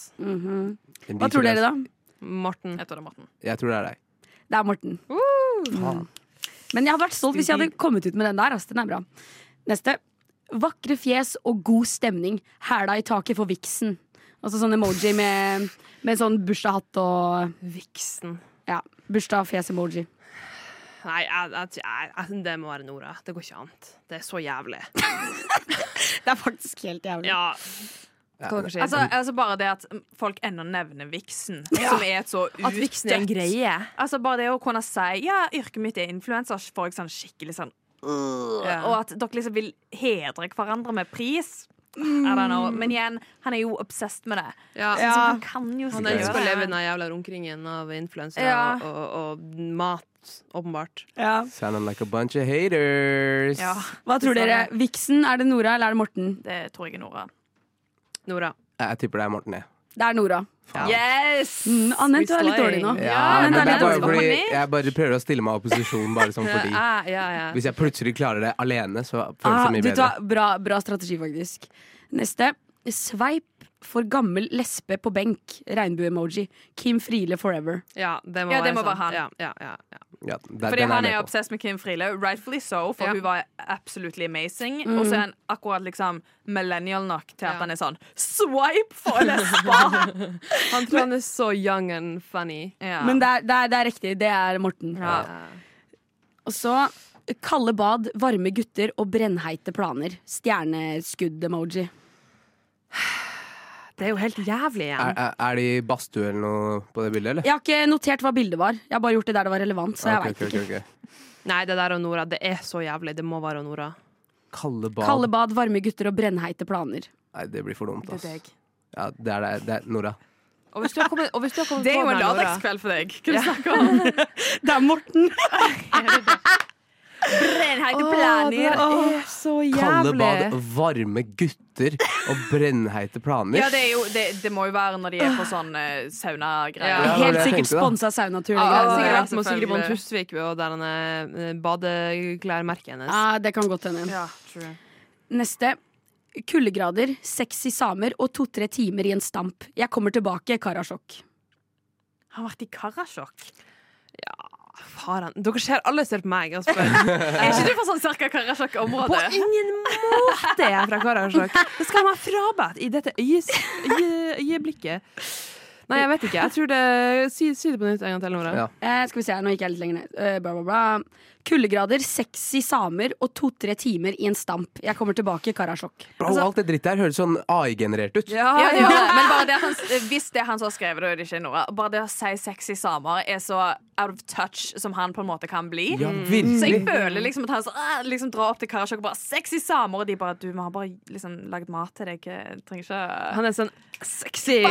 Speaker 5: Hva tror dere, da?
Speaker 2: Morten.
Speaker 4: Jeg tror det er Morten.
Speaker 3: Jeg tror det er deg.
Speaker 5: Det er Morten. Mm. Men jeg hadde vært stolt hvis jeg hadde kommet ut med den der. Ass. Den er bra. Neste. Vakre fjes og god stemning. Hæla i taket for viksen. Altså sånn emoji med, med sånn bursdagshatt og
Speaker 2: Viksen.
Speaker 5: ja, bursdag-fjes-emoji.
Speaker 2: Nei, jeg, jeg, jeg, jeg, det må være Nora. Det går ikke an. Det er så jævlig.
Speaker 5: Det er faktisk helt jævlig.
Speaker 2: Ja. Hva dere sier?
Speaker 4: Altså, altså bare det at folk ennå nevner viksen, som er et så utdødt
Speaker 2: at viksen er en greie.
Speaker 4: Altså Bare det å kunne si ja, yrket mitt er influenser, får jeg sånn skikkelig sånn øh,
Speaker 2: Ja.
Speaker 4: Og at dere liksom vil hedre hverandre med pris. I don't know. Men igjen, han er jo obsessed med det.
Speaker 2: Ja.
Speaker 4: Så han kan jo
Speaker 2: Han
Speaker 4: ikke
Speaker 2: elsker å
Speaker 4: gjøre
Speaker 2: leve i
Speaker 4: det.
Speaker 2: den jævla rundkringen av influensere
Speaker 4: Ja.
Speaker 2: og, og, og mat, åpenbart.
Speaker 3: Sounding like a bunch of haters.
Speaker 4: Ja,
Speaker 5: Hva tror dere? Viksen, er det Nora eller er det Morten?
Speaker 4: det tror jeg er Nora.
Speaker 2: Nora.
Speaker 3: Jeg tipper det er Morten, jeg.
Speaker 5: Det er Nora.
Speaker 4: Yes!
Speaker 5: Mm, Anne, du er litt dårlig nå.
Speaker 2: Ja,
Speaker 5: men
Speaker 3: men
Speaker 5: det er
Speaker 3: det er
Speaker 5: litt
Speaker 3: bare
Speaker 5: dårlig.
Speaker 3: fordi jeg bare prøver å stille meg i opposisjon, bare sånn fordi.
Speaker 2: *laughs* Ja, ja, ja.
Speaker 3: Hvis jeg plutselig klarer det alene, så føles
Speaker 5: Ah,
Speaker 3: det mye
Speaker 5: du
Speaker 3: bedre.
Speaker 5: tar, bra, bra strategi, faktisk. Neste. Sveip for gammel lesbe på benk. Regnbue-emoji. Kim Friele forever.
Speaker 2: Ja, det må,
Speaker 4: Ja, det
Speaker 2: være,
Speaker 4: må
Speaker 2: sånn.
Speaker 4: være han.
Speaker 2: Ja, ja, ja, ja.
Speaker 3: Ja, der,
Speaker 4: Fordi
Speaker 3: den
Speaker 4: han
Speaker 3: jeg
Speaker 4: er
Speaker 3: med på.
Speaker 4: obsessed med Kim Friele, rightfully so, for
Speaker 2: Ja.
Speaker 4: hun var absolutely amazing. Og så er han akkurat liksom millennial nok til
Speaker 2: Ja.
Speaker 4: at han er sånn swipe for lesber!
Speaker 2: Han tror han er så young and funny.
Speaker 4: ja.
Speaker 5: Men det er, det, er, det er riktig. Det er Morten.
Speaker 4: ja.
Speaker 5: Og så kalde bad, varme gutter og brennheite planer. Stjerneskudd-emoji.
Speaker 2: Det er jo helt jævlig
Speaker 3: Er,
Speaker 2: igjen.
Speaker 3: er, er de i badstue eller noe på det bildet, eller?
Speaker 5: Jeg har ikke notert hva bildet var. Jeg har bare gjort det der det var relevant. Så jeg vet ikke.
Speaker 2: Nei, det der og Nora, det er så jævlig. Det må være og Nora.
Speaker 3: Kalde bad.
Speaker 5: Kalde bad, varme gutter og brennheite planer.
Speaker 3: Nei, det blir for dumt, ass.
Speaker 4: Det er deg.
Speaker 3: Ja, det er deg. Det er Nora.
Speaker 2: Og hvis du har kommet, og hvis du har kommet
Speaker 4: Det
Speaker 2: på
Speaker 4: er jo en
Speaker 2: den her, Nora-
Speaker 4: lørdagskveld for deg. Hva du snakker om?
Speaker 5: Det er
Speaker 4: *laughs*
Speaker 5: Morten!
Speaker 4: Renheite
Speaker 2: Åh, det der er så
Speaker 3: Kalde
Speaker 2: jævlig.
Speaker 3: bad, varme gutter og brennheite planer.
Speaker 4: *laughs* Ja, det, er jo, det, det må jo være når de er på sånn eh, sauna-greier.
Speaker 3: Ja. det var
Speaker 5: Helt
Speaker 3: det jeg
Speaker 5: sikkert
Speaker 3: tenkte, da.
Speaker 5: sponsa saunatur.
Speaker 2: Ja,
Speaker 5: liksom.
Speaker 2: sikkert
Speaker 4: ja,
Speaker 2: vært med Sigrid Bonde
Speaker 4: selvfølgelig.
Speaker 2: Tusvik og der han er eh, badeklærmerket hennes.
Speaker 5: Ja, Ah, det kan godt hende.
Speaker 4: Ja, true.
Speaker 5: Neste. Kuldegrader, sexy samer og to-tre timer i en stamp. Jeg kommer tilbake, Karasjok.
Speaker 4: Han har vært i
Speaker 3: *laughs*
Speaker 4: Karasjok.
Speaker 2: Har han Dere ser alle ser på meg og spør.
Speaker 4: Er ikke du fra sånn cirka Karasjok-område?
Speaker 2: På ingen måte er jeg fra Karasjok. Det skal jeg meg frabedt i dette øyes- øye- øyeblikket. Nei, jeg vet ikke. Jeg tror det Si, si det på nytt en gang til, Nora.
Speaker 3: Ja.
Speaker 5: Eh, skal vi se her, nå gikk jeg litt lenger ned. Eh, bla, bla, bla. Kuldegrader, sexy samer og to-tre timer i en stamp. Jeg kommer tilbake, Karasjok.
Speaker 3: Bro, alt det drittet her høres sånn AI-generert ut.
Speaker 4: Ja, det gjør det. Men bare det at han, hvis det er han som har skrevet det, og det ikke er Nora Bare det å si sexy samer er så out of touch som han på en måte kan bli.
Speaker 3: Ja,
Speaker 4: Så jeg
Speaker 3: virkelig.
Speaker 4: føler liksom at han så, ah, liksom drar opp til Karasjok og bare 'sexy samer', og de bare 'du, vi har bare liksom lagd mat til deg', jeg trenger ikke
Speaker 2: Han er sånn sexy.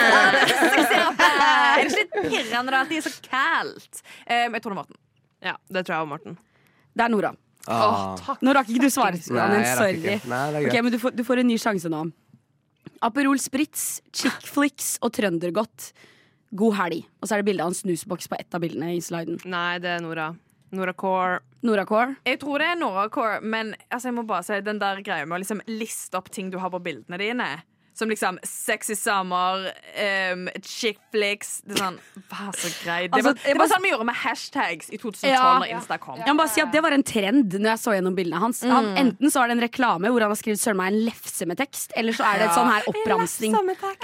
Speaker 4: Sexy rappe! Er det ikke litt pirrende da, at de er så kaldt? Um, jeg tror det er Morten.
Speaker 2: Ja, det tror jeg og Morten.
Speaker 5: Det er Nora.
Speaker 3: Ah.
Speaker 5: Nå rakk ikke du svaret, Daniel.
Speaker 3: jeg rakk
Speaker 5: Sorry.
Speaker 3: ikke. Nei, det er greit.
Speaker 5: Ok, men du får, du får en ny sjanse nå. Aperol Spritz, Chick Flicks og Trøndergodt. God helg. Og så er det bilde av en snusboks på ett av bildene i sliden.
Speaker 2: Nei, det er Nora. Nora Core.
Speaker 5: Nora Core.
Speaker 4: Jeg tror det er Nora Core, men altså, jeg må bare si den der greia med å liksom liste opp ting du har på bildene dine. Som liksom sexy summer, um, chick flicks Det er sånn, Vær så grei. Det
Speaker 5: Altså,
Speaker 4: var,
Speaker 5: jeg
Speaker 4: det var
Speaker 5: bare-
Speaker 4: sånn vi gjorde med hashtags i 2012
Speaker 5: Ja.
Speaker 4: når Insta kom.
Speaker 5: Jeg må bare si at Det var en trend når jeg så gjennom bildene hans.
Speaker 3: Mm.
Speaker 5: Han, enten så er det en reklame hvor han har skrevet søren meg en lefse med tekst, eller så er det et sånn her oppramsing.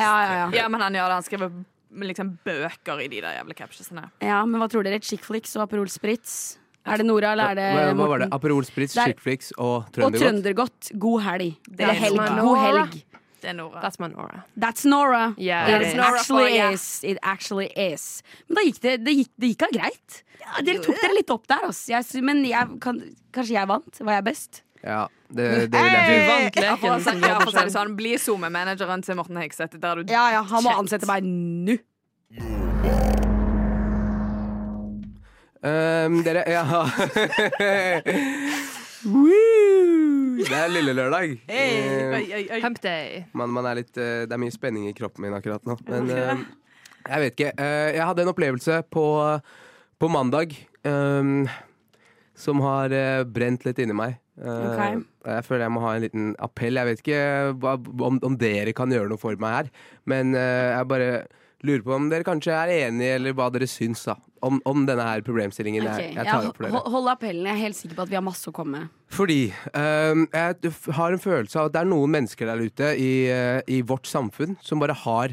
Speaker 5: Ja, ja, ja.
Speaker 4: Ja, men han gjør det. Han skriver liksom bøker i de der jævla captionsene.
Speaker 5: ja, men hva tror dere? Chick Flicks og Aperol Spritz? Er det Nora, eller er det
Speaker 3: Hva, hva var det?
Speaker 5: Morten?
Speaker 3: Aperol Spritz,
Speaker 5: Der.
Speaker 3: Chickflix og
Speaker 5: Og
Speaker 3: Trøndergodt?
Speaker 5: Trøndergodt. God helg.
Speaker 4: er
Speaker 5: Eller helg.
Speaker 2: Nora.
Speaker 5: God helg.
Speaker 4: Det er Nora.
Speaker 2: That's my Nora.
Speaker 5: That's Nora.
Speaker 2: Yeah,
Speaker 5: It
Speaker 2: it is.
Speaker 5: actually
Speaker 4: Nora for, ja.
Speaker 5: is. It actually is. Men da gikk det, det, gikk, det gikk da greit. dere tok dere litt opp der, ass. Jeg, sy- men jeg, kan, kanskje jeg vant? Var jeg best?
Speaker 3: Ja, det, det vil jeg si.
Speaker 2: vant
Speaker 4: Ja, for å si-
Speaker 2: som
Speaker 4: ja, for å si
Speaker 2: Robert
Speaker 4: det sånn, bli SoMe-manageren til Morten Hegseth. Der du
Speaker 5: Ja, ja, han må ansette meg nå.
Speaker 3: Ehm, dere Ja. *laughs* Woo! det er lille lørdag. Ehm,
Speaker 2: Hump day.
Speaker 3: man, man er litt, eh, det er mye spenning i kroppen min akkurat nå. Men ehm, jeg vet ikke. Eh, jeg hadde en opplevelse på, på mandag ehm, som har eh, brent litt inni meg. Eh,
Speaker 5: Ok.
Speaker 3: Jeg føler jeg må ha en liten appell. Jeg vet ikke hva, om, om dere kan gjøre noe for meg her, men eh, jeg bare lurer på om dere kanskje er enige, eller hva dere syns da, om, om denne her problemstillingen.
Speaker 5: Ok,
Speaker 3: jeg,
Speaker 5: ja,
Speaker 3: jeg tar opp for dere.
Speaker 5: ho- Hold appellen. Jeg er helt sikker på at vi har masse å komme med.
Speaker 3: Fordi øhm, jeg f- har en følelse av at det er noen mennesker der ute i, øh, i vårt samfunn som bare har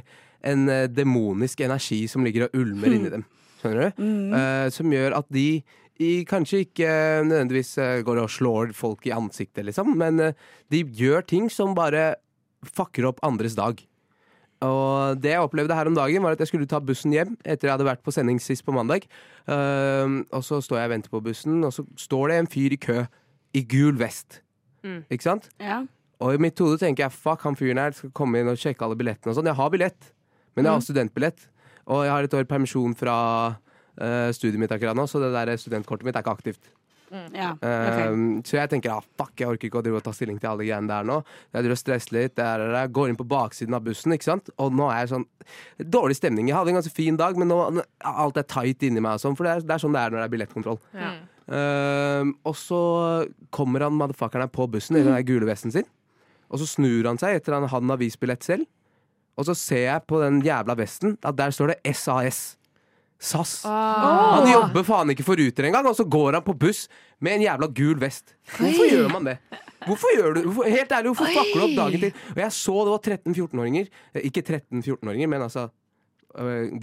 Speaker 3: en øh, demonisk energi som ligger og ulmer inni dem. Skjønner du? Eh, som gjør at de i, kanskje ikke øh, nødvendigvis øh, går og slår folk i ansiktet, liksom, men øh, de gjør ting som bare fucker opp andres dag. Og det jeg opplevde her om dagen, var at jeg skulle ta bussen hjem etter jeg hadde vært på sending sist på mandag. Ehm, og så står jeg og venter på bussen, og så står det en fyr i kø i gul vest. Ikke sant?
Speaker 5: Ja.
Speaker 3: Og i mitt hode tenker jeg fuck, han fyren her skal komme inn og sjekke alle billettene og sånn. Jeg har billett, men jeg har studentbillett. Og jeg har et år permisjon fra eh, studiet mitt akkurat nå, så det der studentkortet mitt er ikke aktivt.
Speaker 5: ja. ok.
Speaker 3: Um, Så jeg tenker ah, fuck, jeg orker ikke å drive og ta stilling til alle de greiene der nå. Jeg driver og stresser litt, der, der, der. går inn på baksiden av bussen, ikke sant. Og nå er jeg sånn Dårlig stemning. Jeg hadde en ganske fin dag, men nå nå- alt er tight inni meg og sånn. For det er, det er sånn det er når det er billettkontroll.
Speaker 2: Ja.
Speaker 3: Um, og så kommer han motherfuckeren her på bussen i den der gule vesten sin. Og så snur han seg etter han han har vist billett selv. Og så ser jeg på den jævla vesten at der står det SAS. SAS. Han jobber faen ikke for Ruter engang, og så går han på buss med en jævla gul vest. Hvorfor gjør man det? Hvorfor gjør du hvorfor, Helt ærlig, hvorfor fucker du opp dagen til? Og jeg så det var 13-14-åringer. eh, Ikke 13-14-åringer, men altså øh,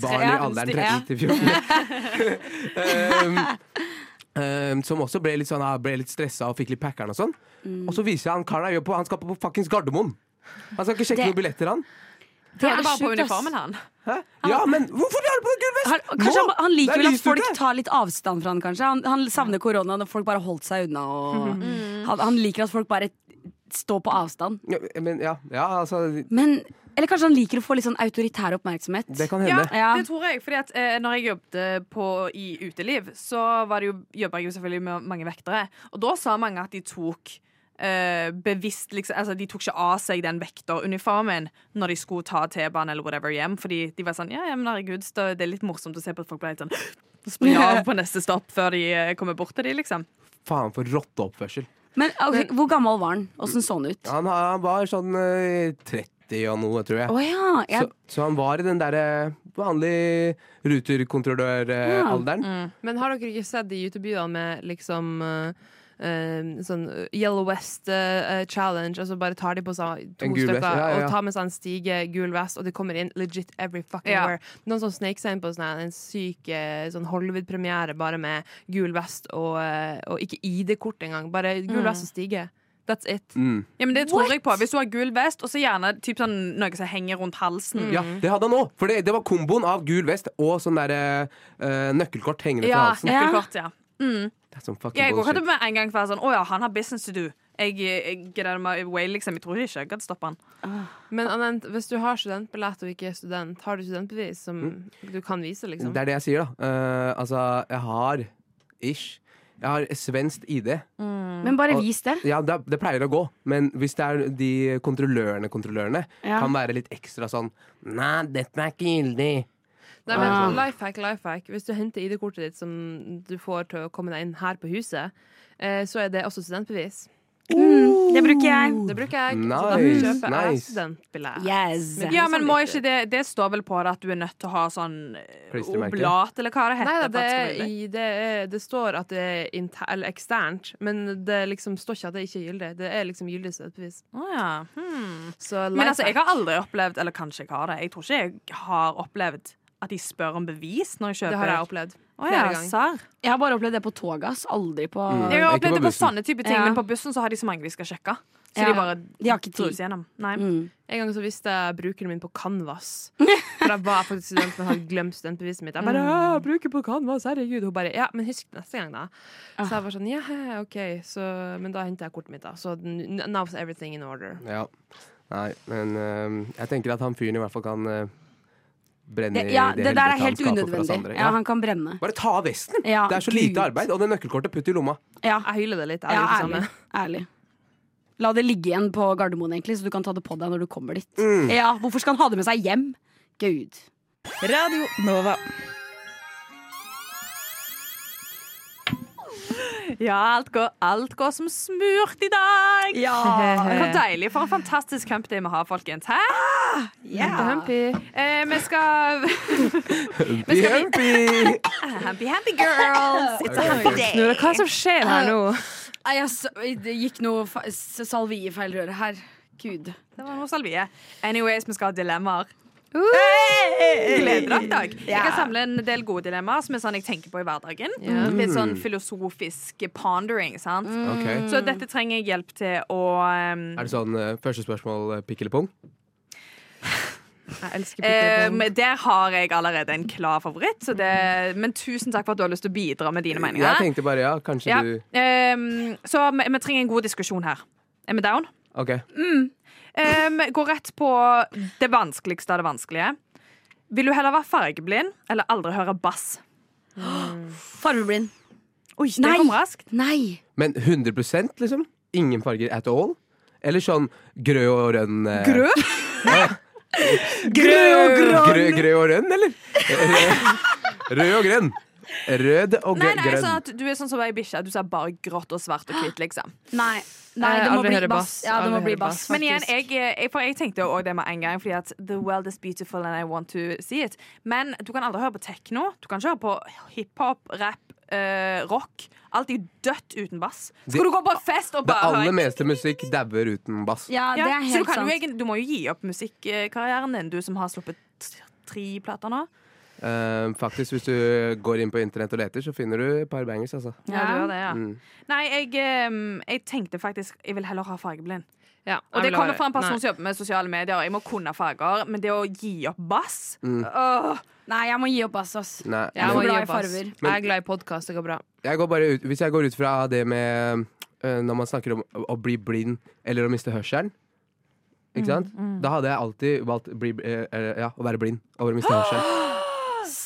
Speaker 3: barn i alderen 13 til
Speaker 5: *laughs*
Speaker 3: 14. um, *laughs* um, som også ble litt, sånn, ah, ble litt stressa og fikk litt packeren og sånn.
Speaker 5: Mm.
Speaker 3: Og så viser jeg han karen jeg jobber på, han skal på fuckings Gardermoen. Han skal ikke sjekke
Speaker 5: Det-
Speaker 3: noen billetter, han.
Speaker 5: Det
Speaker 4: Han er bare på
Speaker 5: sjukt, ass.
Speaker 4: uniformen, han.
Speaker 3: Hæ?
Speaker 5: Ah.
Speaker 3: Ja, men hvorfor har du på deg gul vest?
Speaker 5: Han, kanskje han, han
Speaker 3: Det
Speaker 5: liker
Speaker 3: er
Speaker 5: vel at
Speaker 3: lyst
Speaker 5: folk
Speaker 3: ute.
Speaker 5: tar litt avstand fra han, kanskje. Han, han savner koronaen og folk bare holdt seg unna. Og han, han liker at folk bare står på avstand.
Speaker 3: Ja, men, ja, ja, altså
Speaker 5: Men, eller kanskje han liker å få litt sånn autoritær oppmerksomhet.
Speaker 3: Det kan hende.
Speaker 5: Ja.
Speaker 4: det tror jeg. Fordi at eh, når jeg jobbet på, i uteliv, så var det jo, jobbet jeg jo selvfølgelig med mange vektere. Og da sa mange at de tok eh, bevisst liksom, altså De tok ikke av seg den vekteruniformen når de skulle ta T-banen eller whatever hjem. Fordi de var sånn Ja, ja men herregud, så det er litt morsomt å se på at folk blir helt sånn Springer av på neste stopp før de eh, kommer bort til de, liksom.
Speaker 3: Faen for rotteoppførsel.
Speaker 5: Men ok, Hvor gammel var han? Åssen så han ut?
Speaker 3: Han, han var sånn eh, 30 og noe, tror jeg.
Speaker 5: Å ja. Jeg,
Speaker 3: så, så han var i den eh, derre vanlige ruterkontrolløralderen.
Speaker 4: Mm.
Speaker 2: Men har dere ikke sett de YouTube-videoene med liksom eh, eh, sånn eh, Yellow West eh, eh, Challenge, og så bare tar de på seg to
Speaker 3: En gul
Speaker 2: stykker
Speaker 3: vest, ja, ja, ja.
Speaker 2: og tar med seg en stige, gul vest, og det kommer inn legit every fucking
Speaker 4: Ja.
Speaker 2: where. Noen som snek seg inn på sånn her, en syk eh, sånn Hollywood-premiere bare med gul vest og, eh, og ikke ID-kort engang. Bare gul vest og stige. That's it.
Speaker 3: Mm.
Speaker 4: Ja, men det tror jeg på. Hvis du har gul vest, og så gjerne typ sånn, noe som henger rundt halsen.
Speaker 3: Ja, det hadde han òg! For det, det var komboen av gul vest og sånn derre nøkkelkort hengende fra halsen.
Speaker 4: nøkkelkort, ja.
Speaker 3: Det er sånn fucking
Speaker 4: Jeg går ikke
Speaker 3: bullshit.
Speaker 4: med en gang være sånn Å ja, han har business to do. Jeg, jeg, get out of my way, liksom. Jeg tror ikke jeg kan stoppe han.
Speaker 2: Men Anent, hvis du har studentbillett og ikke er student, har du studentbevis som
Speaker 3: Mm.
Speaker 2: du kan vise, liksom?
Speaker 3: Det er det jeg sier, da. Eh, altså, jeg har ish. Jeg har svenskt ID.
Speaker 5: Men bare
Speaker 3: Og-
Speaker 5: vis det.
Speaker 3: Ja, det, det pleier å gå. Men hvis det er de kontrollørene, kontrollørene,
Speaker 5: Ja.
Speaker 3: kan være litt ekstra sånn Nei, dette er ikke gyldig.
Speaker 2: Nei, men
Speaker 5: Ah.
Speaker 2: lifehack, lifehack. Hvis du henter ID-kortet ditt som du får til å komme deg inn her på huset, eh, så er det også studentbevis.
Speaker 5: Det bruker jeg.
Speaker 2: Det bruker jeg. så da
Speaker 3: Nice,
Speaker 2: kjøper jeg
Speaker 3: nice.
Speaker 2: studentbillett.
Speaker 5: Yes.
Speaker 2: Men-
Speaker 4: Ja, men må ikke det Det står vel på det at du er nødt til å ha sånn eh,
Speaker 3: Klistremerke.
Speaker 4: oblat, eller hva det heter.
Speaker 2: Nei da,
Speaker 4: for
Speaker 2: det,
Speaker 4: at
Speaker 2: er
Speaker 4: skal bli-
Speaker 2: i- det, er- det står at det er inter, eller eksternt, men det liksom står ikke at det ikke er gyldig. Det er liksom gyldig studentbevis.
Speaker 4: Å, ja. hmm.
Speaker 2: Så
Speaker 4: Men altså, jeg
Speaker 2: lifehack.
Speaker 4: har aldri opplevd Eller kanskje jeg har det. Jeg tror ikke jeg har opplevd at de spør om bevis når jeg kjøper.
Speaker 2: det har jeg opplevd
Speaker 4: Å,
Speaker 2: flere
Speaker 4: ja,
Speaker 2: ganger.
Speaker 4: sarr.
Speaker 5: Jeg har bare opplevd det på toget. ass. Aldri på
Speaker 4: Jeg har
Speaker 3: Ikke på
Speaker 4: opplevd det på
Speaker 3: bussen.
Speaker 4: sånne type ting,
Speaker 5: Ja.
Speaker 4: men på bussen så har de så mange de skal sjekke. Så
Speaker 5: Ja.
Speaker 4: de bare
Speaker 5: De har ikke tid.
Speaker 4: druser gjennom. Nei.
Speaker 5: Mm.
Speaker 2: En gang så visste jeg brukeren min på Canvas. For jeg var faktisk student, men hadde glemt studentbeviset mitt. Jeg bare, «Å, bruker på Canvas, herregud. Hun bare, ja, men husk det neste gang da. Så jeg var sånn, ja, ok. Så, men da hentet jeg kortet mitt da. Så n- now's everything in order.
Speaker 3: Ja. Nei, men eh, jeg tenker at han fyren i hvert fall kan eh, brenne
Speaker 5: Det, ja,
Speaker 3: i
Speaker 5: det
Speaker 3: det
Speaker 5: der er
Speaker 3: helvete han
Speaker 5: helt
Speaker 3: skaper for oss
Speaker 5: unødvendig.
Speaker 3: andre.
Speaker 5: Ja, han kan brenne.
Speaker 3: Bare ta av vesten!
Speaker 5: Ja,
Speaker 3: det er så
Speaker 5: Gud.
Speaker 3: lite arbeid. Og det nøkkelkortet, putt
Speaker 5: *laughs*
Speaker 3: i lomma.
Speaker 5: Ja,
Speaker 2: Jeg hyler det litt, jeg
Speaker 5: ja
Speaker 2: gjør det
Speaker 5: ærlig.
Speaker 2: samme.
Speaker 5: ærlig. La det ligge igjen på Gardermoen, egentlig, så du kan ta det på deg når du kommer dit.
Speaker 3: Mm.
Speaker 5: Ja, Hvorfor skal han ha det med seg hjem? Gud.
Speaker 7: Radio Nova.
Speaker 4: Ja, alt går, alt går som smurt i dag!
Speaker 2: *laughs*
Speaker 4: Hvor deilig. For en fantastisk hump day vi har, folkens. Hæ? Ah, Eh, vi skal
Speaker 3: *laughs* Jumpy!
Speaker 4: Happy, happy *laughs* girls! It's a happy day.
Speaker 2: Nora, hva er det som skjer her nå?
Speaker 5: Nei, jeg s- Det gikk noe fa- s- salvie i feil røre her. Gud.
Speaker 4: Det var noe salvie. Anyways, vi skal ha dilemmaer. Gleder dere, Dag. Jeg kan samle en del gode dilemmaer som er sånn jeg tenker på i hverdagen.
Speaker 2: Ja.
Speaker 4: Litt sånn
Speaker 3: Mm.
Speaker 4: filosofisk pondering. sant?
Speaker 5: Mm.
Speaker 3: Ok.
Speaker 4: Så dette trenger jeg hjelp til å um,
Speaker 3: Er det sånn eh, første spørsmål eh, pikk eller pung?
Speaker 2: Jeg elsker
Speaker 4: um,
Speaker 2: pikken.
Speaker 4: Der har jeg allerede en klar favoritt, så det, men tusen takk for at du har lyst til å bidra med dine
Speaker 3: Jeg
Speaker 4: meninger.
Speaker 3: tenkte bare ja, kanskje
Speaker 4: Ja.
Speaker 3: du
Speaker 4: Um, så vi, vi trenger en god diskusjon her. Er vi down?
Speaker 3: OK.
Speaker 4: Um, gå rett på det vanskeligste av det vanskelige. Vil du heller være fargeblind eller aldri høre bass?
Speaker 5: Farveblind.
Speaker 4: Oi, det
Speaker 5: Nei.
Speaker 4: kom raskt.
Speaker 5: Nei.
Speaker 3: Men 100 liksom? Ingen farger at all? Eller sånn grø og rønn eh,
Speaker 5: Grø og grå.
Speaker 3: Grø, grø og rønn,
Speaker 5: *laughs*
Speaker 3: eller? Rød og grønn. Rød og
Speaker 4: Nei,
Speaker 3: grønn.
Speaker 4: nei, sånn at du er sånn som ei bikkje. Du ser bare grått og svart og hvitt, liksom.
Speaker 5: Nei. Nei, det
Speaker 2: Eh,
Speaker 5: må
Speaker 2: aldri
Speaker 5: bli
Speaker 2: høre
Speaker 5: bass.
Speaker 2: bass.
Speaker 5: Ja, det
Speaker 2: Aldri
Speaker 5: må bli
Speaker 2: høre
Speaker 5: bass,
Speaker 2: bass.
Speaker 4: Men igjen,
Speaker 5: faktisk.
Speaker 4: jeg, jeg, for jeg tenkte også det med en gang, fordi at the world is beautiful and I want to see it. Men du kan aldri høre på tekno. Du kan ikke høre på hiphop, rap, eh, rock. Alt er jo dødt uten bass. Skal
Speaker 3: Det-
Speaker 4: du gå på fest og
Speaker 3: Det
Speaker 4: bare
Speaker 3: aller meste musikk dauer uten bass.
Speaker 5: Ja, det
Speaker 4: Ja,
Speaker 5: er
Speaker 4: så du,
Speaker 5: helt
Speaker 4: kan
Speaker 5: sant.
Speaker 4: jo, egentlig- du må jo gi opp musikkarrieren din, du som har sluppet t- tre plater nå.
Speaker 3: Eh, faktisk, hvis du går inn på internett og leter, så finner du et par bangers, altså.
Speaker 4: Ja, du gjør det, ja.
Speaker 3: Mm.
Speaker 4: Nei, jeg, eh, jeg tenkte faktisk Jeg vil heller ha fargeblind.
Speaker 2: Ja, jeg
Speaker 4: Og det
Speaker 2: vil
Speaker 4: kommer
Speaker 2: ha-
Speaker 4: fra en person
Speaker 2: Nei.
Speaker 4: som jobber med sosiale medier. Jeg må kunne farger, men det å gi opp bass åh,
Speaker 5: Nei, jeg må gi opp bass, ass.
Speaker 3: Mm. Nei.
Speaker 2: Jeg,
Speaker 5: Jeg
Speaker 2: må
Speaker 5: er
Speaker 2: gi
Speaker 5: glad i
Speaker 2: opp, ass.
Speaker 5: farver.
Speaker 2: jeg er glad i podkast, det går bra.
Speaker 3: Jeg går bare ut, hvis jeg går ut fra det med øh, Når man snakker om å, å bli blind eller å miste hørselen
Speaker 4: Mm,
Speaker 3: Ikke sant? Da hadde jeg alltid valgt bli, eh, eh, ja, å være blind over å miste hørselen.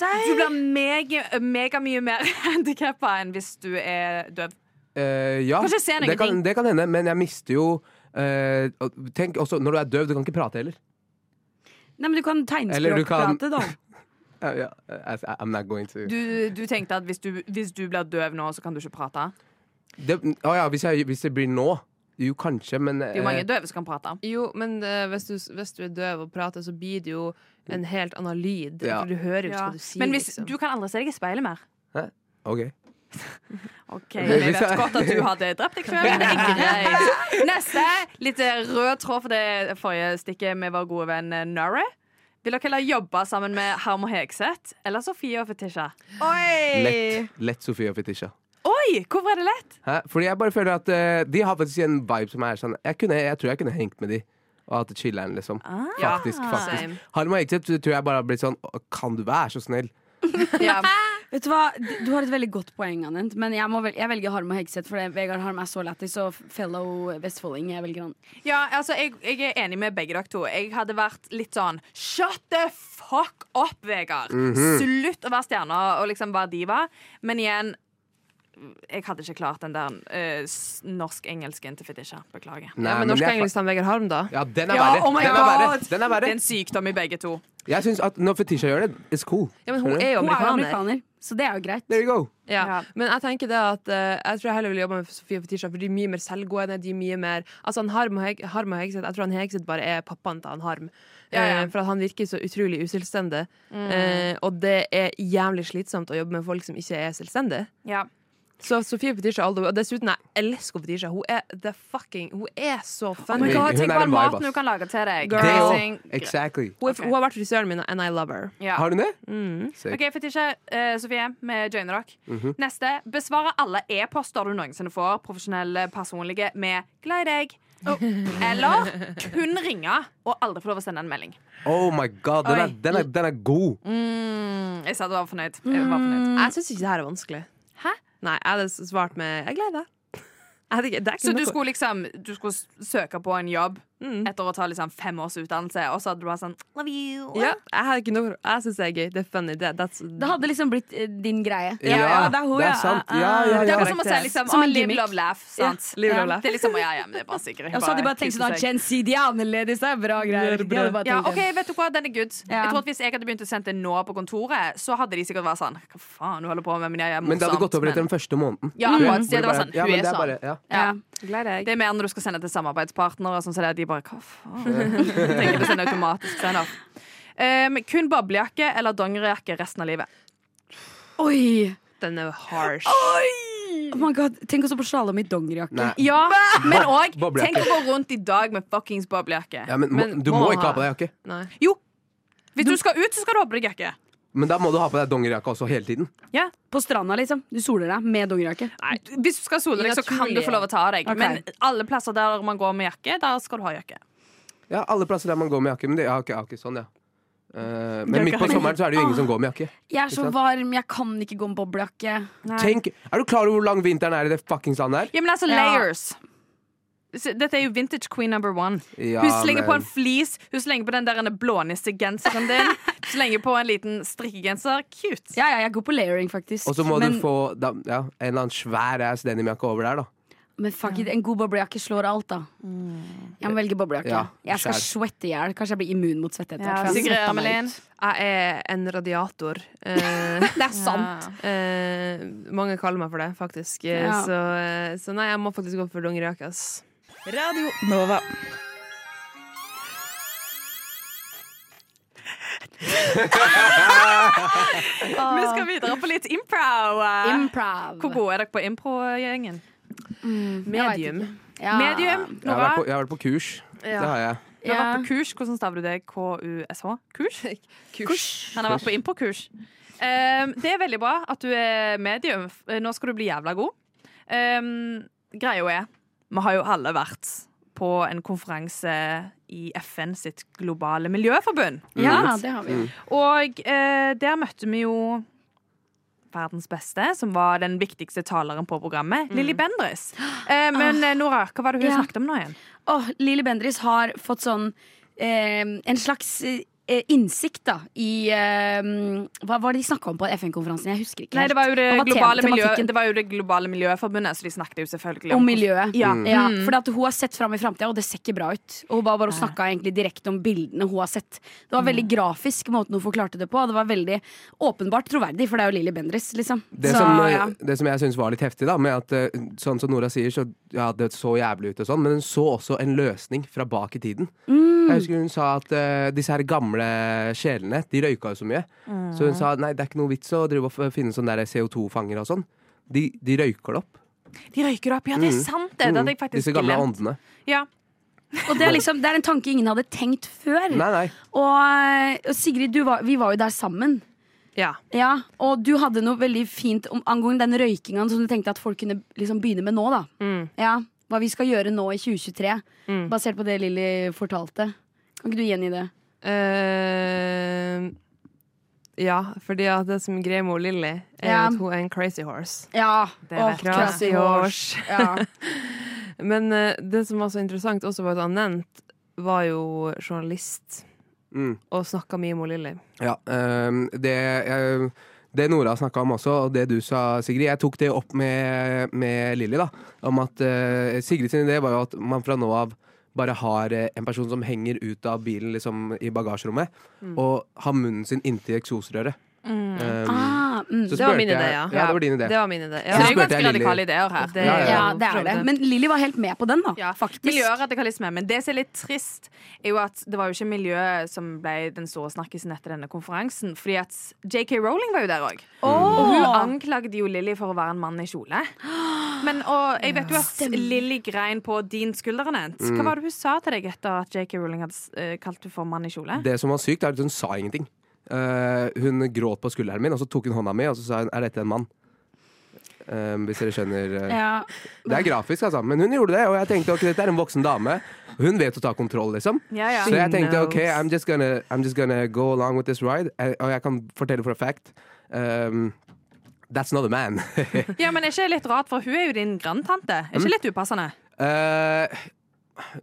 Speaker 4: Du blir mega, mega mye mer *laughs* handikappa enn hvis du er døv.
Speaker 3: Eh, ja,
Speaker 4: Kanskje ser han
Speaker 3: det kan,
Speaker 4: ingenting.
Speaker 3: det kan hende, men jeg mister jo eh, og Tenk også, når du er døv, du kan ikke prate heller.
Speaker 5: Nei, men du kan
Speaker 3: Eller du kan-
Speaker 5: tegnspråkprate, da. *laughs*
Speaker 3: Ja, ja, I, I'm not going to
Speaker 4: Du, du tenkte at hvis du, hvis du blir døv nå, så kan du ikke prate?
Speaker 3: det, å ja, hvis, jeg, hvis det blir nå Jo, kanskje, men
Speaker 4: Det er jo
Speaker 3: eh,
Speaker 4: mange døve som kan prate.
Speaker 2: Jo, men eh, hvis, du, hvis du er døv og prater, så blir det jo en helt annen lyd.
Speaker 3: Ja.
Speaker 2: For du hører jo ikke
Speaker 4: Ja.
Speaker 2: hva du sier.
Speaker 4: Men hvis,
Speaker 2: liksom.
Speaker 4: du kan aldri se deg i speilet mer.
Speaker 3: OK. *laughs*
Speaker 4: OK, vi vet godt at du hadde drept deg sjøl. *laughs* Det er greit. Neste. Litt rød tråd for det forrige stikket med vår gode venn Nurre. Vil dere heller jobbe sammen med Harm og Hegseth eller Sofie og Fetisha?
Speaker 3: Lett, lett Sofie og Fetisha.
Speaker 4: Oi, hvorfor er det lett?
Speaker 3: Hæ? Fordi jeg bare føler at eh, de har faktisk en vibe som er sånn Jeg, kunne, jeg tror jeg kunne hengt med de og hatt det chiller'n, liksom.
Speaker 4: Ah.
Speaker 2: Ja,
Speaker 3: Faktisk, faktisk.
Speaker 2: same.
Speaker 3: Harm og Hegseth tror jeg bare har blitt sånn «Å, Kan du være så snill?
Speaker 4: Ja.
Speaker 5: Vet du hva, Du har et veldig godt poeng, Anent, men jeg, må vel, jeg velger Harm og Hegseth. For det- Vegard Harm er så lættis, og fellow vestfolding. Jeg velger han.
Speaker 4: Ja, altså, jeg, jeg er enig med begge dere to. Jeg hadde vært litt sånn Shut the fuck up, Vegard! Slutt å være stjerne og liksom være diva. Men igjen, jeg hadde ikke klart den der eh, s- norsk-engelsken til Fetisha. Beklager.
Speaker 3: Nei,
Speaker 2: Ja, men norsk
Speaker 3: jeg
Speaker 2: og
Speaker 3: fa-
Speaker 2: engelsk sammen med Vegard Harm, da?
Speaker 3: Ja, den er
Speaker 4: Ja,
Speaker 3: verre.
Speaker 4: oh my
Speaker 3: den, er
Speaker 4: God.
Speaker 3: verre. den er
Speaker 4: Det
Speaker 3: verre.
Speaker 4: er en sykdom i begge to.
Speaker 3: Jeg syns at når Fetisha gjør det, it's cool.
Speaker 2: Ja, men hun
Speaker 3: Skjønner du?
Speaker 2: er jo
Speaker 5: Hun er jo
Speaker 2: amerikaner.
Speaker 5: amerikaner, så det er jo greit.
Speaker 3: There you go.
Speaker 2: Ja.
Speaker 4: Ja.
Speaker 2: Men jeg tenker det at eh, Jeg tror jeg heller vil jobbe med Sofie og Fetisha, for de er mye mer selvgående. De er mye mer Altså han Harm og, Heg, Harm og Hegseth Jeg tror han Hegseth bare er pappaen til han Harm.
Speaker 4: Ja, ja. Mm.
Speaker 2: Eh, for at han virker så utrolig uselvstendig.
Speaker 3: Mm.
Speaker 2: Eh, og det er jævlig slitsomt å jobbe med folk som ikke er selvstendige.
Speaker 4: Ja.
Speaker 2: Så Sofie Fetisha all the way. Og dessuten, jeg elsker Fetisha. Hun er the fucking Hun er så
Speaker 4: Oh my
Speaker 2: funny.
Speaker 3: Hun-
Speaker 4: God,
Speaker 3: hun er
Speaker 4: tenk
Speaker 3: en
Speaker 4: på all
Speaker 3: vibe,
Speaker 4: maten
Speaker 3: ass.
Speaker 4: hun kan lage til deg.
Speaker 3: Det
Speaker 2: Girl.
Speaker 3: òg.
Speaker 4: Dressing.
Speaker 3: Exactly.
Speaker 2: Hun, er,
Speaker 4: Ok.
Speaker 2: hun har vært frisøren min, and I love her.
Speaker 4: Ja.
Speaker 3: Har hun det?
Speaker 2: Mm.
Speaker 3: Sick.
Speaker 4: OK, Fetisha, eh, Sofie, vi joiner dere. Neste. Besvare alle e-poster du noensinne får, profesjonelle, personlige, med 'glad i deg'. *laughs* Eller kun ringe og aldri få lov å sende en melding.
Speaker 3: Oh my god, den er,
Speaker 4: Oi.
Speaker 3: den er, den er god.
Speaker 4: Mm, jeg sa du var fornøyd. Jeg var fornøyd.
Speaker 2: Jeg syns ikke det her er vanskelig.
Speaker 4: Hæ?
Speaker 2: Nei, jeg hadde svart med 'jeg gleder meg'. *laughs* Jeg hadde ikke- det er ikke
Speaker 4: Så
Speaker 2: noe-
Speaker 4: du skulle liksom Du skulle s- søke på en jobb
Speaker 2: Mm.
Speaker 4: etter å ta liksom fem års utdannelse, og så hadde du bare sånn Love you.
Speaker 2: Ja, jeg har ikke noe Jeg syns det er gøy. Det er funny. Det, that's,
Speaker 5: Det hadde liksom blitt eh, din greie.
Speaker 3: Ja, det er sant. Ja, ja,
Speaker 4: Det er
Speaker 3: ja.
Speaker 4: bare som å si liksom,
Speaker 5: Som
Speaker 4: «Ah,
Speaker 5: en
Speaker 4: Live,
Speaker 5: gimmick.
Speaker 4: love, laugh. Sant?
Speaker 2: Live, love, laugh.
Speaker 4: Det er liksom, ja, ja, men det er bare sikkert.
Speaker 5: Og så hadde de bare tenkt sånn
Speaker 4: kose
Speaker 5: ah,
Speaker 4: seg.
Speaker 5: Gen Z, de er annerledes. Det er bra greier.
Speaker 2: Det er
Speaker 5: De hadde bare
Speaker 4: Ja,
Speaker 5: tenkt
Speaker 4: ok,
Speaker 5: det.
Speaker 4: vet du hva, den er good.
Speaker 5: Ja.
Speaker 4: Jeg tror at Hvis jeg hadde begynt å sende det nå på kontoret, så hadde de sikkert vært sånn Hva faen, du holder på med? Men jeg er
Speaker 3: Men det hadde gått over etter den
Speaker 4: men-
Speaker 3: første måneden. Tror
Speaker 4: Ja,
Speaker 3: jeg.
Speaker 4: akkurat. De
Speaker 3: Hvor
Speaker 4: hadde vært
Speaker 3: det bare-
Speaker 4: sånn,
Speaker 3: Mm. ja,
Speaker 4: hun
Speaker 3: men
Speaker 4: er
Speaker 3: det er
Speaker 4: sånn.
Speaker 3: bare, ja.
Speaker 4: Ja.
Speaker 2: Gleder deg.
Speaker 4: Det er mer når du skal sende til samarbeidspartnere. Sånn, så det er de bare Hva *laughs* faen? Tenker du sender automatisk send off. Um, kun boblejakke eller dongerijakke resten av livet.
Speaker 5: Oi!
Speaker 2: Den er harsh.
Speaker 5: Oh my god, Tenk også på slalåm i dongerijakke.
Speaker 3: Nei.
Speaker 4: Ja, men òg
Speaker 3: Boblejakke.
Speaker 4: Tenk å gå rundt i dag med fuckings boblejakke.
Speaker 3: Ja, men, må-
Speaker 2: Men
Speaker 3: du
Speaker 2: må
Speaker 3: må
Speaker 2: man
Speaker 3: ikke ha på deg
Speaker 2: ha-
Speaker 3: jakke.
Speaker 2: Nei.
Speaker 4: Hvis du skal ut, så skal du ha på deg jakke.
Speaker 3: Men da må du ha på deg dongerijakke også hele tiden.
Speaker 5: På stranda, liksom. Du soler deg med dongerijakke.
Speaker 4: Hvis du skal sole deg, så kan du få lov å ta av deg.
Speaker 5: Ok.
Speaker 4: Men alle plasser der man går med jakke, der skal du ha jakke.
Speaker 3: Ja, alle plasser der man går med jakke. Men det, ja, ok, ja, ok, sånn, ja. Eh, men midt på
Speaker 4: Jakke.
Speaker 3: sommeren så er det jo ingen som går med jakke.
Speaker 5: Jeg er så
Speaker 3: Ikke sant?
Speaker 5: varm, jeg kan ikke gå med boblejakke.
Speaker 3: Tenk, Er du klar over hvor lang vinteren er i det fuckings landet her?
Speaker 4: Ja, men altså,
Speaker 5: Ja.
Speaker 4: layers. Så Dette er jo vintage queen number one.
Speaker 3: Ja,
Speaker 4: Hun slenger på
Speaker 3: men-
Speaker 4: en fleece, hun slenger på den der ene blånissegenseren din. Slenger på en liten strikkegenser. Cute.
Speaker 5: Ja, ja, jeg går på layering, faktisk.
Speaker 3: Og så må
Speaker 5: men,
Speaker 3: du få da, ja, en eller annen svær ass denimjakke over der, da.
Speaker 5: men fuck it, en god boblejakke slår alt, da. Jeg må velge boblejakke.
Speaker 3: Mm. Ja,
Speaker 5: jeg skal
Speaker 3: skjær.
Speaker 5: svette i hjel. Kanskje jeg blir immun mot svette etter hvert, for jeg har
Speaker 4: Sigrid
Speaker 5: svettet meg
Speaker 4: Ermelin.
Speaker 5: ut.
Speaker 2: Jeg er en radiator. Eh,
Speaker 5: Det er sant.
Speaker 2: *laughs* eh, mange kaller meg for det, faktisk. Eh,
Speaker 5: Ja.
Speaker 2: Så, eh, så nei, jeg må faktisk gå for dongerijakke. ass.
Speaker 7: Radio Nova.
Speaker 4: Vi skal videre på litt improv.
Speaker 5: Improv. Mm.
Speaker 4: Hvor gode er dere på impro-gjengen?
Speaker 2: Medium.
Speaker 5: Ja.
Speaker 4: Medium?
Speaker 3: Jeg har vært på,
Speaker 4: Nora?
Speaker 3: jeg har vært på kurs. Det har jeg.
Speaker 4: Du har
Speaker 5: Ja.
Speaker 4: vært på kurs. Hvordan staver du det? K-u-s-h? Kurs?
Speaker 2: Kurs.
Speaker 4: Han har vært på impro-kurs. Ehm, det er veldig bra at du er medium. F- Nå skal du bli jævla god. Um, greia er, vi har jo alle vært på en konferanse i FN sitt globale miljøforbund.
Speaker 5: ja,
Speaker 3: Mm.
Speaker 5: det har vi.
Speaker 4: Og eh, der møtte vi jo verdens beste, som var den viktigste taleren på programmet, Lilly Bendriss. Eh, men eh, Nora, hva var det hun
Speaker 5: Ja.
Speaker 4: snakket om nå igjen?
Speaker 5: Åh, Lilly Bendriss har fått sånn eh, En slags eh, innsikt da i eh, Hva var det de snakka om på FN-konferansen? Jeg husker ikke.
Speaker 4: Nei,
Speaker 5: helt.
Speaker 4: det var jo det,
Speaker 5: Hva var
Speaker 4: globale,
Speaker 5: tem-
Speaker 4: miljø,
Speaker 5: tematikken?
Speaker 4: det var jo det globale miljøforbundet, så de snakket jo selvfølgelig
Speaker 5: Om
Speaker 4: om
Speaker 5: miljøet.
Speaker 4: Ja.
Speaker 5: Ja, fordi at hun har sett fram i framtida, og det ser ikke bra ut. Og hun bare, bare snakka egentlig direkte om bildene hun har sett. Det var
Speaker 4: Mm.
Speaker 5: veldig grafisk, måten hun forklarte det på. Og det var veldig åpenbart troverdig, for det er jo Lilly Bendriss, liksom.
Speaker 3: Det,
Speaker 5: Så,
Speaker 3: som, eh,
Speaker 5: ja.
Speaker 3: det som jeg syns var litt heftig, da, med at eh, sånn som Nora sier, så ja, det så jævlig ut og sånn, men hun så også en løsning fra bak i tiden.
Speaker 4: Mm.
Speaker 3: Jeg husker hun sa at eh, disse her gamle
Speaker 4: Mm.
Speaker 3: sjelene, de røyka jo så mye. Så hun sa nei, det er ikke noe vits å drive og f- finne sånne der CO2-fanger og sånn. De, de røyker det opp.
Speaker 4: De røyker opp, ja, det er
Speaker 3: Mm.
Speaker 4: sant det! Det hadde jeg
Speaker 3: Mm.
Speaker 4: faktisk
Speaker 3: Disse gamle
Speaker 4: glemt.
Speaker 3: åndene.
Speaker 4: Ja.
Speaker 5: Og det er, liksom, det er en tanke ingen hadde tenkt før.
Speaker 3: Nei, nei.
Speaker 5: Og, og Sigrid, du var, vi var jo der sammen.
Speaker 2: Ja.
Speaker 5: Ja, Og du hadde noe veldig fint om, angående den røykinga som du tenkte at folk kunne liksom begynne med nå. da
Speaker 2: Mm.
Speaker 5: Ja, Hva vi skal gjøre nå i 2023,
Speaker 2: Mm.
Speaker 5: basert på det Lilly fortalte. Kan ikke du gjengi det?
Speaker 2: Eh, ja, fordi at det som er greia med hun Lilly, er
Speaker 5: Ja.
Speaker 2: jo at hun er en crazy horse.
Speaker 5: Ja.
Speaker 4: Det
Speaker 5: Åh,
Speaker 4: vet jeg.
Speaker 5: crazy horse. Ja.
Speaker 2: Men eh, det som var så interessant, også var at Anent var jo journalist
Speaker 3: Mm.
Speaker 2: og snakka mye om hun Lilly.
Speaker 3: Ja, ehm, det, jeg- det Nora snakka om også, og det du sa, Sigrid Jeg tok det opp med, med Lilly. da, Om at eh, Sigrid sin idé var jo at man fra nå av bare har eh, en person som henger ut av bilen liksom, i bagasjerommet,
Speaker 2: Mm.
Speaker 3: og har munnen sin inntil eksosrøret. Ehm,
Speaker 5: Ah, mm.
Speaker 3: så
Speaker 2: Det var
Speaker 3: spurte
Speaker 2: min idé,
Speaker 3: jeg-
Speaker 2: ja.
Speaker 3: Ja, det var din idé.
Speaker 2: Det var min idé. Ja.
Speaker 4: Så det er
Speaker 3: Så
Speaker 4: jo
Speaker 3: spurte jeg
Speaker 4: ganske
Speaker 3: Lilly.
Speaker 4: radikale ideer her.
Speaker 2: Det-
Speaker 5: ja,
Speaker 3: ja,
Speaker 5: det er det. Men Lilly var helt med på den, da.
Speaker 4: Ja,
Speaker 5: faktisk.
Speaker 4: Miljøradikalisme. Men det som er litt trist, er jo at det var jo ikke miljøet som ble den store snakkisen etter denne konferansen. Fordi at JK Rowling var jo der òg. Og hun anklagde jo Lilly for å være en mann i kjole. Men og jeg vet jo at Lilly grein på din skulder, Anent. Hva var det hun sa til deg etter at JK Rowling hadde eh, kalt henne for mann i kjole?
Speaker 3: Det som var sykt, er at hun sa ingenting. Eh, hun gråt på skulderen min, og så tok hun hånda mi, og så sa hun 'er dette en mann'? Ehm, hvis dere skjønner. eh,
Speaker 5: Ja.
Speaker 3: Det er grafisk, altså. Men hun gjorde det, og jeg tenkte ok, dette er en voksen dame. Hun vet å ta kontroll, liksom.
Speaker 4: Ja, ja.
Speaker 3: Så jeg tenkte
Speaker 2: knows.
Speaker 3: OK, I'm just gonna, I'm just gonna go along with this ride. Eh, Og jeg kan fortelle for a fact ehm, That's not a man. *laughs*
Speaker 4: ja, men er ikke det litt rart, for hun er jo din grandtante. Er ikke litt upassende?
Speaker 3: Eh,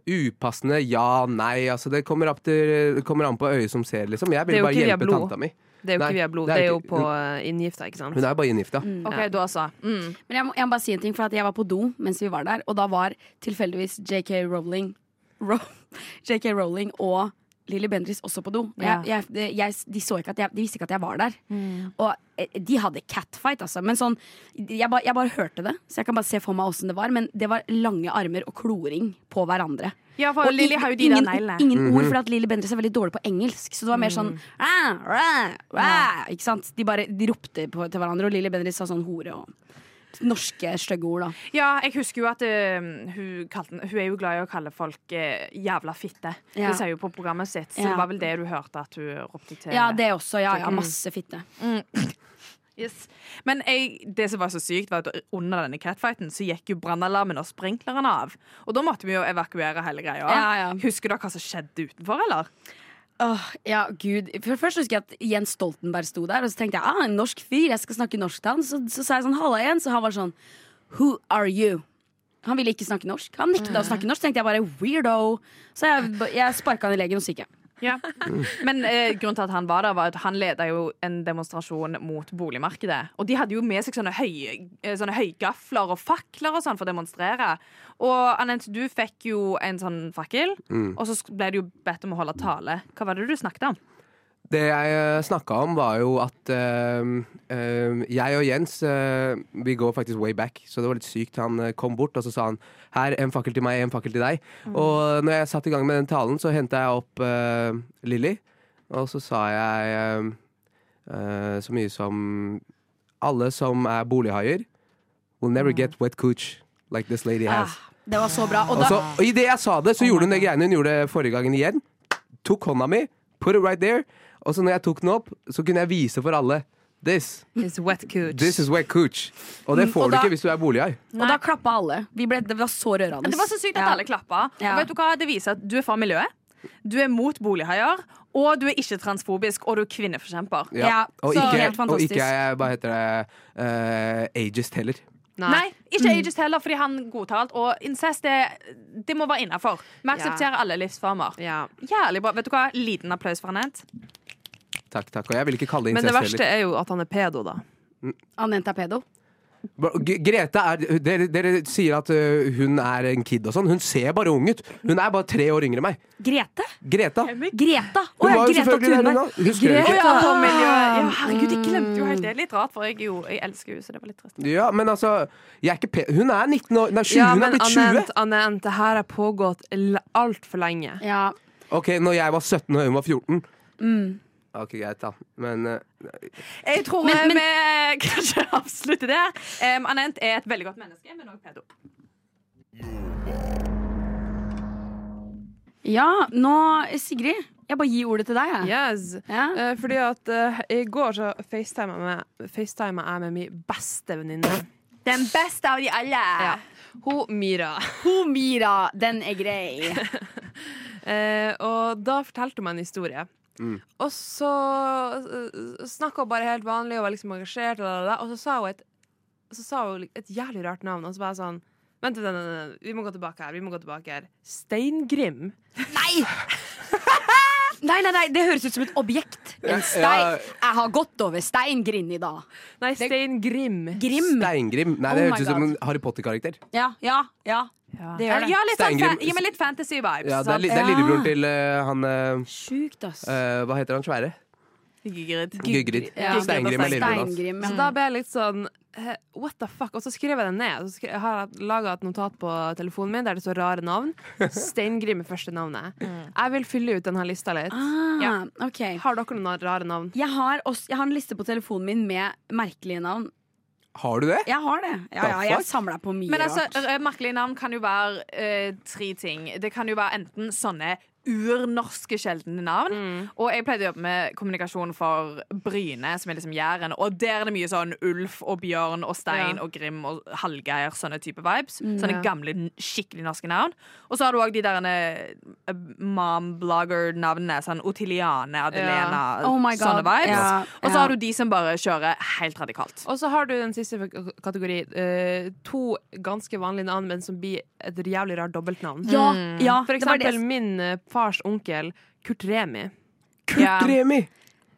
Speaker 3: upassende, ja, nei. Altså, det kommer, opp til, det kommer an på øyet som ser, liksom. Jeg
Speaker 2: Det er
Speaker 3: vil
Speaker 2: jo
Speaker 3: bare
Speaker 2: ikke via
Speaker 3: hjelpe
Speaker 2: blod.
Speaker 3: tanta mi.
Speaker 2: Det er jo
Speaker 3: Nei,
Speaker 2: ikke via blod,
Speaker 3: det
Speaker 2: det
Speaker 3: er
Speaker 2: er jo
Speaker 3: ikke-
Speaker 2: på eh, inngifta, ikke sant?
Speaker 3: Hun er jo bare inngifta.
Speaker 4: OK, da så. Mm.
Speaker 5: Men jeg må, jeg må bare si en ting, for at jeg var på do mens vi var der, og da var tilfeldigvis JK Rowling Ro, *laughs* JK Rowling og Lilly Bendriss også på do. Og Jeg, jeg, det- jeg, de, så ikke at jeg, de visste ikke at jeg var der. Og eh, de hadde catfight, altså. Men sånn, jeg, ba, jeg bare hørte det, så jeg kan bare se for meg åssen det var. Men det var lange armer og kloring på hverandre.
Speaker 4: Ja, for Lilly har jo de der
Speaker 5: ingen,
Speaker 4: neglene.
Speaker 5: ingen ord, for at Lilly Bendriss er veldig dårlig på engelsk. Så det var mer sånn "Ah, rah, rah," Ikke sant? De bare de ropte på, til hverandre, og Lilly Bendriss sa sånn hore og norske stygge ord, da.
Speaker 4: Ja, jeg husker jo at øhm, hun, kalte, den- hun er jo glad i å kalle folk eh, jævla fitte.
Speaker 5: Ja.
Speaker 4: Det sier jo på programmet sitt, så
Speaker 5: Ja.
Speaker 4: det var vel det du hørte at hun ropte til.
Speaker 5: Ja, det også. Ja, ja, masse fitte.
Speaker 4: Yes. Men jeg, det som var så sykt, var at under denne catfighten så gikk jo brannalarmen og sprinkleren av. Og da måtte vi jo evakuere hele greia.
Speaker 5: Ja, ja.
Speaker 4: Husker dere hva som skjedde utenfor, eller?
Speaker 5: Åh, ja, gud. For Først husker jeg at Jens Stoltenberg sto der, og så tenkte jeg ah, en norsk fyr, jeg skal snakke norsk til han. Så, så sa jeg sånn halla igjen, så han var sånn who are you? Han ville ikke snakke norsk. Han nekta å snakke norsk, tenkte jeg bare weirdo. Så jeg, jeg sparka han i legen og så gikk jeg.
Speaker 4: Ja. Men eh, grunnen til at han var der, var at han leda jo en demonstrasjon mot boligmarkedet. Og de hadde jo med seg sånne, høy, eh, sånne høygafler og fakler og sånn for å demonstrere. Og Anent, du fikk jo en sånn fakkel, og så sk- ble du jo bedt om å holde tale. Hva var det du snakket om?
Speaker 3: Det jeg snakka om, var jo at øhm, øhm, jeg og Jens øh, Vi går faktisk way back, så det var litt sykt. Han øh, kom bort og så sa han her, en fakkel til meg, en fakkel til deg. Og når jeg satt i gang med den talen, så henta jeg opp øh, Lilly, og så sa jeg øhm, øh, så mye som Alle som er bolighaier, will never get wet cooch like this lady
Speaker 5: Ah,
Speaker 3: has.
Speaker 5: Det var så bra. Og
Speaker 3: Og
Speaker 5: da,
Speaker 3: så, og Altså, i det jeg sa det, så gjorde hun det greiene hun gjorde forrige gangen igjen. Tok hånda mi, put it right there. Og så når jeg tok den opp, så kunne jeg vise for alle. This,
Speaker 2: It's wet cooch.
Speaker 3: this is wet cooch. Og det
Speaker 5: Mm,
Speaker 3: får
Speaker 5: og
Speaker 3: du
Speaker 5: da-
Speaker 3: ikke hvis du er bolighai.
Speaker 5: og da klappa alle. Vi ble, det var så rørende.
Speaker 4: Det var så sykt at
Speaker 5: Ja.
Speaker 4: alle klappa.
Speaker 5: Ja.
Speaker 4: Og vet du hva? Det viser at du er fra miljøet. Du er mot bolighaier, og du er ikke transfobisk, og du er kvinneforkjemper.
Speaker 3: Ja.
Speaker 5: Ja,
Speaker 3: og,
Speaker 5: så
Speaker 3: ikke,
Speaker 5: helt
Speaker 3: og
Speaker 5: fantastisk.
Speaker 3: ikke hva heter det, eh, ageist heller.
Speaker 2: Nei.
Speaker 4: Nei, ikke ageist heller, fordi han godtalt. Og incest, det, det må være innafor. Vi aksepterer alle livsformer.
Speaker 2: Ja.
Speaker 4: Jævlig bra. Vet du hva? Liten applaus for Anette.
Speaker 3: Takk, takk. Og jeg vil ikke kalle det
Speaker 2: Men det
Speaker 3: incest
Speaker 2: verste
Speaker 3: heller.
Speaker 2: er jo at han er pedo, da.
Speaker 5: Anenta Pedo.
Speaker 3: Bro, G- Grete er dere, dere sier at øh, hun er en kid og sånn. Hun ser bare ung ut. Hun er bare tre år yngre enn meg.
Speaker 5: Grete?
Speaker 3: Greta.
Speaker 5: Greta! Å
Speaker 3: Hun
Speaker 5: ja,
Speaker 3: var jo
Speaker 5: Greta
Speaker 3: selvfølgelig der
Speaker 5: Thunberg.
Speaker 3: hun da. Husker dere ikke?
Speaker 4: Ja, på miljøet. ja, herregud, jeg glemte jo helt det. Litt rart, for jeg, er jo, jeg elsker henne, så det var litt trist.
Speaker 3: Ja, men altså jeg er ikke pe Hun er 19 år Nei, 20,
Speaker 2: Ja,
Speaker 3: hun er
Speaker 2: men
Speaker 3: blitt 20!
Speaker 2: Anent, Anent, det her har pågått altfor lenge.
Speaker 5: Ja.
Speaker 3: Ok, når jeg var 17 og hun var 14 OK, greit, da. Men eh,
Speaker 4: Jeg tror
Speaker 5: Men-
Speaker 4: eh, vi kanskje avslutter der. Um, Anent er et veldig godt menneske, men også pedo.
Speaker 5: Ja, nå Sigrid. Jeg bare gir ordet til deg, jeg.
Speaker 2: Yes.
Speaker 5: Ja.
Speaker 2: Eh, fordi at eh, i går så facetima jeg FaceTimet jeg med min beste venninne.
Speaker 5: Den beste av de alle.
Speaker 2: Ja. Hun Mira.
Speaker 5: Hun Mira, den er grei.
Speaker 2: Eh, og da fortalte hun meg en historie.
Speaker 3: Mm.
Speaker 2: Og så uh, snakka hun bare helt vanlig og var liksom engasjert, la, la, la, og så sa hun et Så sa hun li- et jævlig rart navn, og så var jeg sånn Vent, vent, vent, vent, vent, vi må gå tilbake her. vi må gå tilbake her Steingrim.
Speaker 5: *laughs* Nei! *laughs* Nei, nei, nei, Det høres ut som et objekt. En stein.
Speaker 3: Ja.
Speaker 5: Jeg har gått over steingrind i dag.
Speaker 2: Nei, Steingrim.
Speaker 5: Grim.
Speaker 3: Steingrim. Nei, det
Speaker 5: Oh my
Speaker 3: høres ut som
Speaker 5: God.
Speaker 3: en Harry Potter-karakter.
Speaker 5: Ja, ja, ja. Det gjør det.
Speaker 4: Ja, litt sånn,
Speaker 3: Steingrim-
Speaker 4: fa- gi meg litt fantasy vibes.
Speaker 3: Ja, det er, li
Speaker 4: sant?
Speaker 3: det er lillebroren til eh, han eh,
Speaker 5: Sjukt, ass.
Speaker 3: eh, Hva heter han svære?
Speaker 4: Gygrid.
Speaker 3: Gygrid.
Speaker 5: Ja.
Speaker 3: Steingrim er lillebroren hans.
Speaker 5: Steingrim.
Speaker 2: Så
Speaker 5: ja.
Speaker 2: da ble jeg litt sånn eh, What the fuck? Og så skrev jeg det ned. Så skre- jeg har laga et notat på telefonen min der det står rare
Speaker 3: *laughs*
Speaker 2: navn. Steingrim er første navnet. Jeg vil fylle ut denne lista litt.
Speaker 5: Ah,
Speaker 2: Ja.
Speaker 5: ok.
Speaker 2: Har dere noen rare navn?
Speaker 5: Jeg har, også, jeg har en liste på telefonen min med merkelige navn.
Speaker 3: Har du det?
Speaker 5: Jeg har det. Ja, ja,
Speaker 3: The fuck?
Speaker 5: jeg samla på mye
Speaker 4: Men altså,
Speaker 5: rart.
Speaker 4: r- merkelige navn kan jo være eh, tre ting. Det kan jo være enten sånne urnorske, sjeldne navn.
Speaker 5: Mm.
Speaker 4: Og jeg pleide å jobbe med kommunikasjon for Bryne, som er liksom Jæren. Og der er det mye sånn Ulf og Bjørn og Stein
Speaker 2: Ja.
Speaker 4: og Grim og Hallgeir, sånne type vibes.
Speaker 5: Mm,
Speaker 4: Sånne
Speaker 2: Ja.
Speaker 4: gamle, n- skikkelig norske navn. Og så har du òg de der eh, mom-blogger-navnene. Sånn Otiliane, Adelena,
Speaker 5: Oh my God.
Speaker 4: sånne vibes.
Speaker 5: Ja,
Speaker 4: Og så
Speaker 5: ja.
Speaker 4: har du de som bare kjører helt radikalt.
Speaker 2: Og så har du den siste k- kategori. eh, to ganske vanlige navn, men som blir et jævlig rart dobbeltnavn.
Speaker 5: ja, ja,
Speaker 2: For
Speaker 5: det var det-
Speaker 2: eksempel min eh, fars onkel Kurt Remi.
Speaker 3: Kurt
Speaker 4: Ja.
Speaker 3: Remi!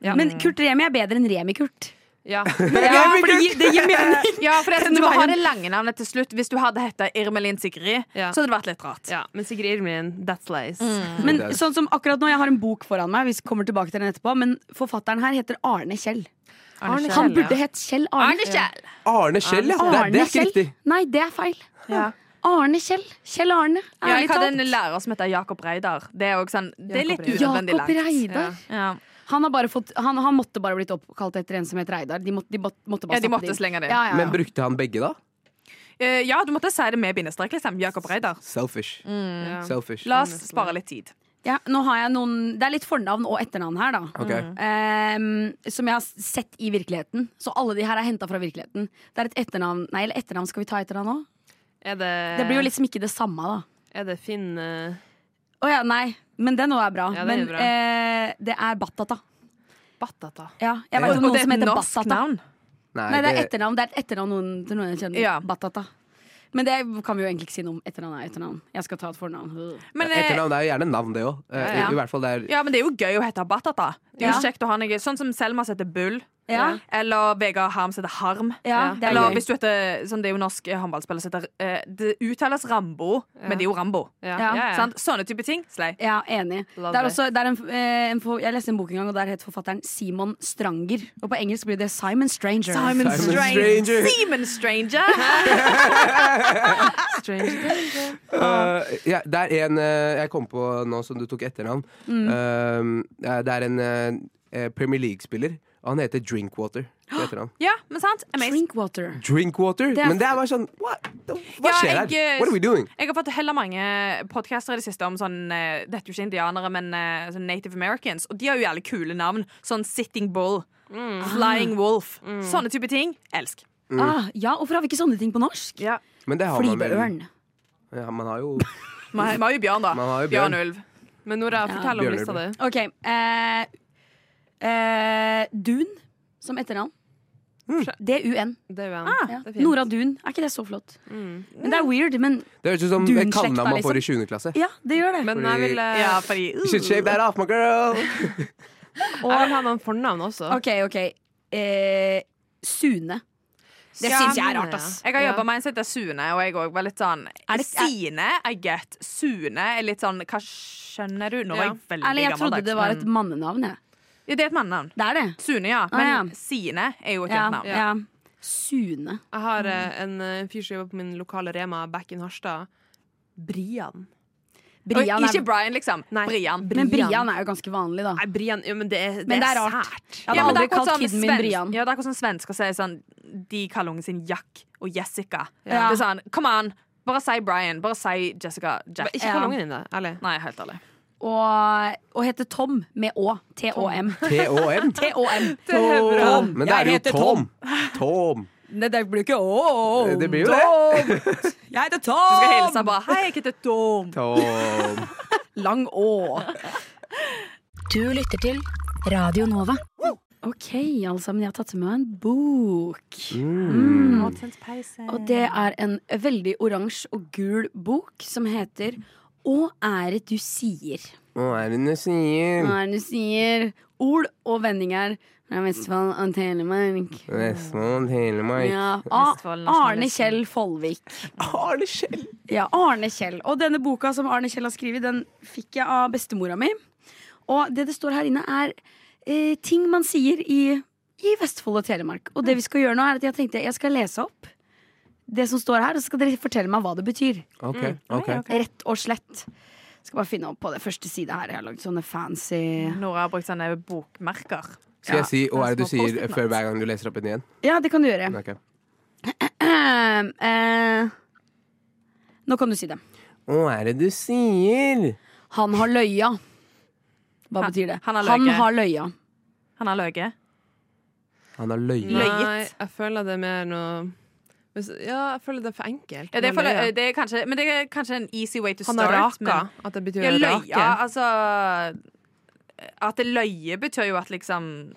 Speaker 2: Ja.
Speaker 5: Men Kurt Remi er bedre enn Remi-Kurt.
Speaker 2: Ja.
Speaker 5: Ja, for det gir, det gir
Speaker 3: *laughs*
Speaker 5: mening.
Speaker 4: Ja, for det,
Speaker 5: Den
Speaker 4: du må ha
Speaker 5: veien.
Speaker 4: det lange navnet til slutt. Hvis du hadde hett Irmelin Sigrid,
Speaker 2: Ja.
Speaker 4: så hadde det vært litt rart.
Speaker 2: *laughs* ja. Men Sigrid Irmelin, that's lace.
Speaker 5: Men
Speaker 3: Det er-
Speaker 5: sånn som akkurat nå, Jeg har en bok foran meg, vi kommer tilbake til den etterpå men forfatteren her heter Arne Kjell.
Speaker 2: Arne Kjell,
Speaker 5: Han
Speaker 2: ja.
Speaker 5: burde hett Kjell Arne.
Speaker 3: Arne Kjell, ja. Det, er- det er ikke
Speaker 5: Kjell.
Speaker 3: riktig.
Speaker 5: Nei, det er feil.
Speaker 2: Ja.
Speaker 5: Arne Kjell. Kjell Arne.
Speaker 4: Ja,
Speaker 5: Ærlig
Speaker 4: jeg hadde en
Speaker 5: talt.
Speaker 4: lærer som heter Jakob Reidar. Det er, også sånn, det er litt
Speaker 2: Jakob
Speaker 4: unødvendig
Speaker 5: Jakob
Speaker 4: langt.
Speaker 5: Reidar.
Speaker 4: Ja.
Speaker 5: Han, har bare fått, han, han måtte bare blitt oppkalt etter en som het Reidar. De måtte, de måtte, måtte bare
Speaker 4: Ja, de
Speaker 5: stoppe
Speaker 4: måtte
Speaker 5: det inn.
Speaker 4: slenge det inn.
Speaker 5: Ja, ja, ja.
Speaker 3: Men brukte han begge, da?
Speaker 4: Eh, ja, du måtte si det med bindestrek. Liksom. Jakob Reidar.
Speaker 3: Selfish.
Speaker 2: Ja.
Speaker 3: Selfish.
Speaker 4: La oss spare litt tid.
Speaker 5: ja, nå har jeg noen, det er litt fornavn og etternavn her, da.
Speaker 3: Ok.
Speaker 5: Ehm, som jeg har sett i virkeligheten. Så alle de her er henta fra virkeligheten. Det er et etternavn Nei, eller etternavn skal vi ta etter han òg?
Speaker 2: Er det,
Speaker 5: Det blir jo liksom ikke det samme, da.
Speaker 2: Er det Finn eh,
Speaker 5: Å ja, nei. Men den òg er bra.
Speaker 2: Ja, den er
Speaker 5: men
Speaker 2: bra.
Speaker 5: eh, det er Batata.
Speaker 2: Batata?
Speaker 5: Ja, jeg
Speaker 3: Ja.
Speaker 5: vet om
Speaker 4: Og
Speaker 5: noen
Speaker 4: det
Speaker 5: som
Speaker 4: er et
Speaker 5: heter
Speaker 4: norsk
Speaker 5: Batata.
Speaker 4: navn.
Speaker 5: Nei, det er etternavn. Det er et etternavn noen, til noen jeg kjenner.
Speaker 4: Ja.
Speaker 5: Batata. Men det kan vi jo egentlig ikke si noe om. Etternavn er etternavn. Jeg skal ta et fornavn. Øh.
Speaker 4: Men, eh,
Speaker 3: Etternavn det er jo gjerne navn, det òg. I,
Speaker 5: ja.
Speaker 3: I hvert fall det er
Speaker 4: ja, men det er jo gøy å hete Batata. Det er
Speaker 5: Ja.
Speaker 4: jo kjekt å ha noe Sånn som Selma heter Bull.
Speaker 5: Ja.
Speaker 4: Eller Vegard Harms heter Harm.
Speaker 5: Ja, det er
Speaker 4: Eller
Speaker 5: gøy.
Speaker 4: hvis du heter sånn, Det er jo norsk eh, håndballspiller som heter eh, Det uttales Rambo, men det er jo Rambo.
Speaker 2: Ja.
Speaker 5: Ja.
Speaker 2: ja, ja.
Speaker 4: Sant? Sånne type ting. Slay.
Speaker 5: Ja, enig.
Speaker 2: Love
Speaker 5: Det er
Speaker 2: it.
Speaker 5: også, det er en, eh, en, for- jeg leste en bok en gang, og der het forfatteren Simon Stranger. Og på engelsk blir det Simon Stranger.
Speaker 4: Simon
Speaker 3: Simon
Speaker 4: Stranger.
Speaker 3: Stranger.
Speaker 4: Simon Stranger.
Speaker 2: Strange thing.
Speaker 3: Øh, ja, Det er en øh, jeg kom på nå som du tok etternavn. Øh, det er en øh, Premier League-spiller. Og han heter Drinkwater. til etternavn.
Speaker 4: Ja, men sant? Amazing.
Speaker 5: Drinkwater.
Speaker 3: Drinkwater?
Speaker 5: er-
Speaker 3: Men det er bare sånn What? Hva
Speaker 4: Ja,
Speaker 3: skjer
Speaker 4: jeg,
Speaker 3: her?
Speaker 4: eh,
Speaker 3: What are we doing?
Speaker 4: Jeg har fått heller mange podcaster i det siste om sånn eh, Dette er jo ikke indianere, men eh, sånn Native Americans. Og de har jo jævlig kule navn. Sånn Sitting Bull. Flying Wolf. Sånne type ting. Elsk.
Speaker 5: Ah, ja, hvorfor har vi ikke sånne ting på norsk?
Speaker 4: Ja.
Speaker 3: Men det har man vel.
Speaker 5: Flyveørn.
Speaker 3: Ja, man har jo
Speaker 4: Vi har vi har jo Bjørn, da.
Speaker 3: Man har jo Bjørn.
Speaker 4: Bjørn Ulv.
Speaker 2: Men Nora, fortell om
Speaker 3: Bjørn
Speaker 2: lista di.
Speaker 3: Ulven.
Speaker 5: Ok. Eh, eh, Dun som etternavn. D-U-N.
Speaker 2: Det er jo en.
Speaker 5: Ja.
Speaker 2: Ah, det er fint.
Speaker 5: Ah, Nora Dun. Er ikke det så flott? Men det er weird, men
Speaker 3: Det høres ut som
Speaker 5: Dunslekta,
Speaker 3: et kallenavn man får i
Speaker 5: liksom.
Speaker 3: 7. klasse.
Speaker 5: ja, det gjør det.
Speaker 2: Men jeg vil, eh,
Speaker 4: Ja, fordi
Speaker 3: You should shave that off, my girl!
Speaker 2: jeg vil ha noen fornavn også.
Speaker 5: OK, OK. Eh, Sune. Det
Speaker 2: Ja,
Speaker 5: syns jeg er rart, ass.
Speaker 4: Jeg har
Speaker 2: Ja.
Speaker 4: jobba med en som heter Sune, og jeg òg var litt sånn
Speaker 5: det-
Speaker 4: Sine, I get. Sune er litt sånn Hva skjønner du? Nå var
Speaker 2: Ja.
Speaker 4: jeg veldig
Speaker 5: Eller jeg trodde
Speaker 4: gammeldags.
Speaker 5: det var et
Speaker 4: men-
Speaker 5: mannenavn, jeg.
Speaker 4: Ja, Det er et mannenavn.
Speaker 5: Det er det.
Speaker 4: Sune, ja.
Speaker 5: Ah,
Speaker 4: Men
Speaker 5: ja.
Speaker 4: Sine er jo et
Speaker 5: Ja,
Speaker 4: jentenavn.
Speaker 5: ja. Sune.
Speaker 2: Jeg har eh, en eh, fyr som jobber på min lokale Rema back in Harstad. Brian.
Speaker 4: Og
Speaker 5: Brian
Speaker 4: ikke
Speaker 5: er,
Speaker 4: Brian, liksom.
Speaker 2: Nei.
Speaker 4: Brian.
Speaker 5: men Brian er jo ganske vanlig, da.
Speaker 2: Nei, Brian ja, Men det er, det
Speaker 5: Men det er
Speaker 2: er
Speaker 5: rart.
Speaker 2: sært.
Speaker 5: Jeg hadde
Speaker 4: Ja, men det er
Speaker 5: aldri
Speaker 4: akkurat
Speaker 5: kalt
Speaker 4: sånn
Speaker 5: kiden min
Speaker 4: svensk-
Speaker 5: Brian.
Speaker 4: Ja, det er akkurat sånn svensker sier sånn De kaller ungen sin Jack og Jessica.
Speaker 2: Ja.
Speaker 4: Det er sånn, come on, bare si Brian. Bare si Jessica Jack.
Speaker 2: Ikke kall ungen din det. Ærlig.
Speaker 4: Nei, helt ærlig.
Speaker 5: Og, og heter Tom med Å. T-Å-M. *laughs*
Speaker 3: T-O-M.
Speaker 5: T-Å-M.
Speaker 3: Tom. Men det
Speaker 7: Jeg
Speaker 3: er jo
Speaker 7: heter
Speaker 3: Tom. Tom.
Speaker 5: Det, det blir jo ikke Å.
Speaker 3: Det blir jo det.
Speaker 5: Jeg heter
Speaker 4: Du skal
Speaker 5: Tom!
Speaker 4: hilse bare Hei, jeg heter Tom.
Speaker 3: Tom.
Speaker 5: Lang Å.
Speaker 8: Du lytter til Radio Nova.
Speaker 5: Ok, alle sammen, jeg har tatt med meg en bok.
Speaker 3: Mm.
Speaker 5: Og det er en veldig oransje og gul bok som heter Å ære du sier.
Speaker 3: Hva er det du sier?
Speaker 5: Hva er det du sier? Ord og vendinger fra Vestfold og Telemark.
Speaker 3: Vestfold, Telemark.
Speaker 5: Ja,
Speaker 4: Vestfold,
Speaker 5: A- Arne
Speaker 4: nasjonalisten.
Speaker 5: Kjell Follvik.
Speaker 3: Arne Kjell.
Speaker 5: Ja, Arne Kjell. Og denne boka som Arne Kjell har skrevet, den fikk jeg av bestemora mi. Og det det står her inne, er eh, ting man sier i, i Vestfold og Telemark. Og det vi skal gjøre nå, er at jeg tenkte jeg skal lese opp det som står her, og så skal dere fortelle meg hva det betyr.
Speaker 3: Ok, ok.
Speaker 5: Rett og slett. Skal bare finne opp på det første sida her. Jeg har lagd sånne fancy
Speaker 4: Nora har brukt sånne bokmerker.
Speaker 3: Skal jeg si hva er det du
Speaker 4: små
Speaker 3: sier
Speaker 4: Post-it-notes.
Speaker 3: før hver gang du leser opp en igjen?
Speaker 5: Ja, det kan du gjøre.
Speaker 3: Ok.
Speaker 5: Eh, nå kan du si det.
Speaker 3: Hva er det du sier?
Speaker 5: Han har løya. Hva
Speaker 4: Han-
Speaker 5: betyr det?
Speaker 4: han har løyet.
Speaker 5: han har løya.
Speaker 4: Han har løyet.
Speaker 3: Han har løyet.
Speaker 4: Løyet.
Speaker 2: Nei, jeg føler det er mer noe hvis- Ja, jeg føler det er for enkelt.
Speaker 4: Ja, det er
Speaker 2: Men
Speaker 4: for,
Speaker 2: løye.
Speaker 4: det er kanskje, men det er kanskje en easy way to
Speaker 2: han
Speaker 4: start.
Speaker 2: har raka.
Speaker 4: men-
Speaker 2: At det betyr
Speaker 4: Ja,
Speaker 2: å
Speaker 4: løye.
Speaker 2: rake.
Speaker 4: Altså At det løye betyr jo at liksom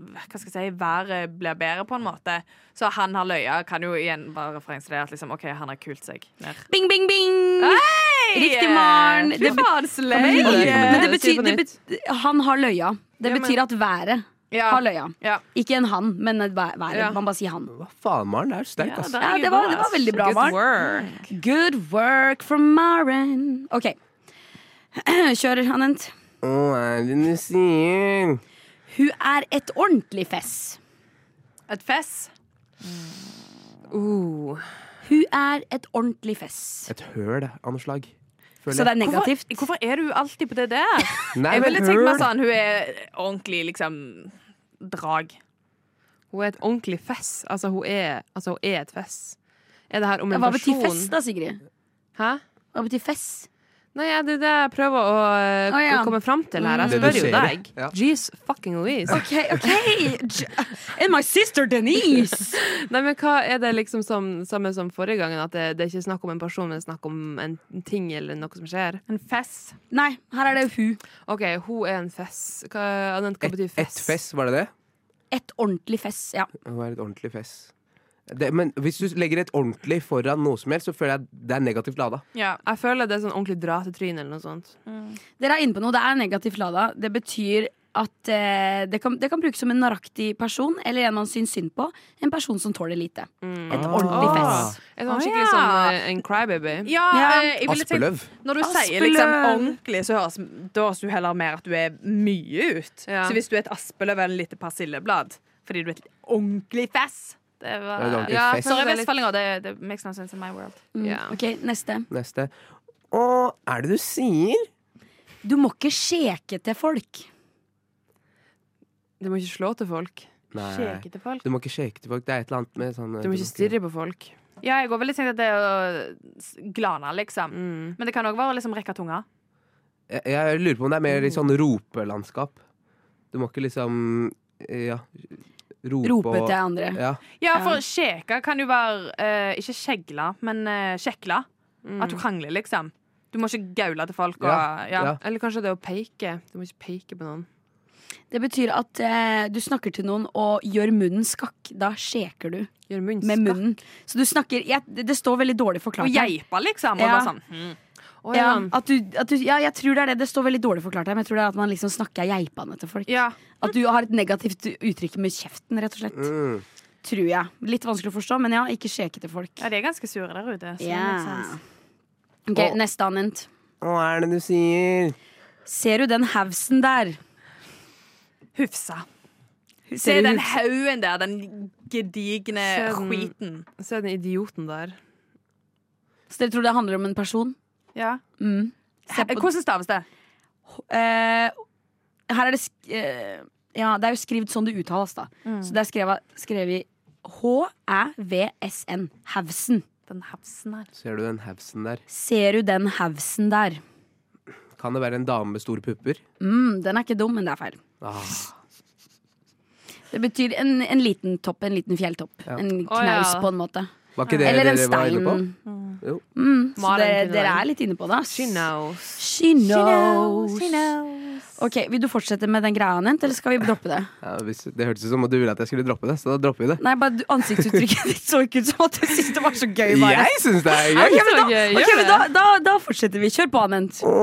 Speaker 4: hva skal jeg si, været blir bedre, på en måte. Så han har løya, kan jo igjen være referanse til det at liksom, OK, han har kult seg ned.
Speaker 5: Bing, bing, bing!
Speaker 4: Hei!
Speaker 5: Riktig, Maren.
Speaker 4: Fy
Speaker 5: Det be-
Speaker 4: faen, slay!
Speaker 5: Men
Speaker 2: Yeah.
Speaker 5: det
Speaker 2: Si
Speaker 5: betyr,
Speaker 2: på
Speaker 5: det
Speaker 2: nytt.
Speaker 5: bet- Han har løya. Det
Speaker 2: Ja, men-
Speaker 5: betyr at været
Speaker 4: Ja.
Speaker 5: har løya.
Speaker 4: Ja.
Speaker 5: Ikke en han, men et væ- været.
Speaker 2: Ja.
Speaker 5: Man bare sier han.
Speaker 3: Hva faen, Maren? Det er sterk,
Speaker 4: Ja,
Speaker 3: ass.
Speaker 4: der
Speaker 5: Ja,
Speaker 4: er
Speaker 5: det var, det var
Speaker 4: ass.
Speaker 5: veldig bra,
Speaker 2: Good
Speaker 5: Maren. Mm.
Speaker 2: work.
Speaker 5: Good work from Maren. OK. *clears throat* Kjør, Anent.
Speaker 3: Hva er det du sier?
Speaker 5: Hun er et ordentlig fess.
Speaker 4: Et fess.
Speaker 5: Mm.
Speaker 2: Uh,
Speaker 5: Hun er et ordentlig fess.
Speaker 3: Et høl av noe slag.
Speaker 5: Så det er
Speaker 4: Hvorfor,
Speaker 5: negativt.
Speaker 4: hvorfor er du alltid på det der?
Speaker 5: *laughs*
Speaker 3: Nei, men
Speaker 4: Jeg ville tenkt meg
Speaker 3: høl.
Speaker 4: sånn, hun er ordentlig liksom drag.
Speaker 2: hun er et ordentlig fess. Altså, hun er, altså, hun er et fess. Er det her om
Speaker 5: Ja,
Speaker 2: en
Speaker 5: Hva
Speaker 2: person
Speaker 5: betyr fess, da, Sigrid?
Speaker 2: Hæ?
Speaker 5: Hva betyr fess?
Speaker 2: Nei, ja, det er det jeg prøver å, eh,
Speaker 5: Å, ja.
Speaker 2: å komme fram til her. Jeg
Speaker 3: Det du
Speaker 2: spør jo
Speaker 3: ser,
Speaker 2: deg.
Speaker 3: ja.
Speaker 2: Jeez fucking Louise.
Speaker 5: OK, OK! And my sister Denise!
Speaker 2: Nei, men hva er det liksom som, samme som forrige gangen? At det, det er ikke snakk om en person, men snakk om en ting eller noe som skjer?
Speaker 4: En fess.
Speaker 5: Nei, her er det hun.
Speaker 2: OK, hun er en fess. Hva, Anette, hva betyr
Speaker 3: Et
Speaker 2: fess?
Speaker 3: fess, var det det?
Speaker 5: Et ordentlig fess, ja.
Speaker 3: Hun er et ordentlig fess. Det, men hvis du legger et ordentlig foran noe som helst, så føler jeg at det er negativt lada.
Speaker 4: Ja.
Speaker 2: Jeg føler det er sånn ordentlig dra til trynet eller noe sånt.
Speaker 5: Dere er inne på noe. Det er negativt lada. Det betyr at eh, det, kan, det kan brukes som en naraktig person eller en man syns synd på. En person som tåler lite. Et ordentlig
Speaker 2: Ah.
Speaker 5: fess.
Speaker 2: En sånn
Speaker 4: Å,
Speaker 2: skikkelig
Speaker 4: ja.
Speaker 2: sånn eh, en crybaby.
Speaker 4: Ja,
Speaker 5: Ja.
Speaker 4: eh, jeg ville tenkt
Speaker 3: Aspeløv.
Speaker 4: Når du sier
Speaker 5: Aspeløv.
Speaker 4: liksom ordentlig, så høres, da høres du heller mer at du er mye ut.
Speaker 2: Ja.
Speaker 4: Så hvis du er et aspeløv eller en lite persilleblad fordi du er et ordentlig fess Det
Speaker 3: Det
Speaker 4: var
Speaker 3: er et ordentlig
Speaker 2: Ja,
Speaker 3: fess.
Speaker 2: kanskje
Speaker 4: Sorry,
Speaker 2: det er litt-
Speaker 4: vestfallinger. Det, det makes no sense in my world.
Speaker 5: Mm.
Speaker 2: Ja.
Speaker 5: Ok, neste.
Speaker 3: Neste. Hva er det du sier?
Speaker 5: Du må ikke skjeke til folk.
Speaker 2: Du må ikke slå til folk.
Speaker 3: Nei. Du må ikke shake til folk. Det er et eller annet med sånn
Speaker 2: Du må ikke stirre på folk.
Speaker 4: Ja, jeg går vel litt tenkt at det er å s- glane, liksom.
Speaker 2: Mm.
Speaker 4: Men det kan òg være å liksom rekke tunga.
Speaker 3: Jeg, jeg lurer på om det er mer
Speaker 5: Mm.
Speaker 3: i sånn ropelandskap. Du må ikke liksom Ja. Rope,
Speaker 5: Rope
Speaker 3: og-
Speaker 5: til andre.
Speaker 3: Ja.
Speaker 4: Ja, for skjeka kan jo være eh, ikke skjegle, men eh, kjekle. At du krangler, liksom. Du må ikke gaule til folk. Og,
Speaker 3: Ja,
Speaker 4: ja.
Speaker 3: ja.
Speaker 2: Eller kanskje det å peke. Du må ikke peke på noen.
Speaker 5: Det betyr at eh, du snakker til noen og gjør munnen skakk. Da skjeker du
Speaker 2: Gjør munnen
Speaker 5: med
Speaker 2: skakk.
Speaker 5: munnen. Så du snakker jeg, Det det står veldig dårlig forklart
Speaker 4: Og
Speaker 5: her.
Speaker 4: geipe, liksom. Og
Speaker 5: Ja.
Speaker 4: bare sånn. hm.
Speaker 2: Å,
Speaker 5: Ja,
Speaker 2: ja.
Speaker 5: at du, at du, ja, jeg tror det er det. Det står veldig dårlig forklart her, men jeg tror det er at man liksom snakker geipende til folk.
Speaker 4: Ja.
Speaker 5: At du har et negativt uttrykk med kjeften, rett og slett.
Speaker 3: Mm.
Speaker 5: Tror jeg. Litt vanskelig å forstå, men ja, ikke skjeke til folk.
Speaker 4: Ja, de er sånn. ganske sure der ute. så
Speaker 5: Ja.
Speaker 4: det makes sense.
Speaker 5: Ok, Neste annet.
Speaker 3: Hva er det du sier?
Speaker 5: Ser du den hausen der?
Speaker 4: Hufsa. Se
Speaker 5: Ser du
Speaker 4: den
Speaker 5: hus-
Speaker 4: haugen der, den gedigne
Speaker 2: Se den-
Speaker 4: skiten.
Speaker 2: Se den idioten der.
Speaker 5: Så dere tror det handler om en person?
Speaker 4: Ja.
Speaker 5: Mm. Se på-
Speaker 4: Hvordan staves det?
Speaker 5: Eh, her er det sk eh, Ja, det er jo skrevet sånn det uttales, da. Så det er skrevet, skrevet H-æ-v-s-n. Havsen.
Speaker 4: Den hevsen her.
Speaker 3: Ser du den hevsen der?
Speaker 5: Ser du den havsen der?
Speaker 3: Kan det være en dame med store pupper?
Speaker 5: Mm, den er ikke dum, men det er feil.
Speaker 3: Ah,
Speaker 5: Det betyr en, en liten topp, en liten fjelltopp.
Speaker 3: Ja.
Speaker 5: En
Speaker 2: Å, ja.
Speaker 5: knaus, på en måte.
Speaker 3: var ikke det
Speaker 5: Eller en
Speaker 3: dere var inne på?
Speaker 5: stein.
Speaker 3: Jo.
Speaker 5: Mm, så
Speaker 2: Maren
Speaker 5: dere,
Speaker 2: kunne
Speaker 5: dere
Speaker 2: være.
Speaker 5: er litt inne på det. ass.
Speaker 2: She knows.
Speaker 5: She knows. Ok, Vil du fortsette med den greia hennes, eller skal vi droppe det?
Speaker 3: Ja, hvis, det hørtes ut som om du ville at jeg skulle droppe det, så da dropper vi det.
Speaker 5: Nei, bare du- Ansiktsuttrykket *laughs* ditt så ikke ut som at du syntes det var så gøy. Bare.
Speaker 3: Jeg syns det er gøy!
Speaker 5: Ok, men da,
Speaker 2: gøy,
Speaker 5: ok,
Speaker 2: gjør
Speaker 5: men
Speaker 2: det.
Speaker 5: da, da, da fortsetter vi. Kjør på, Anent.
Speaker 3: Å,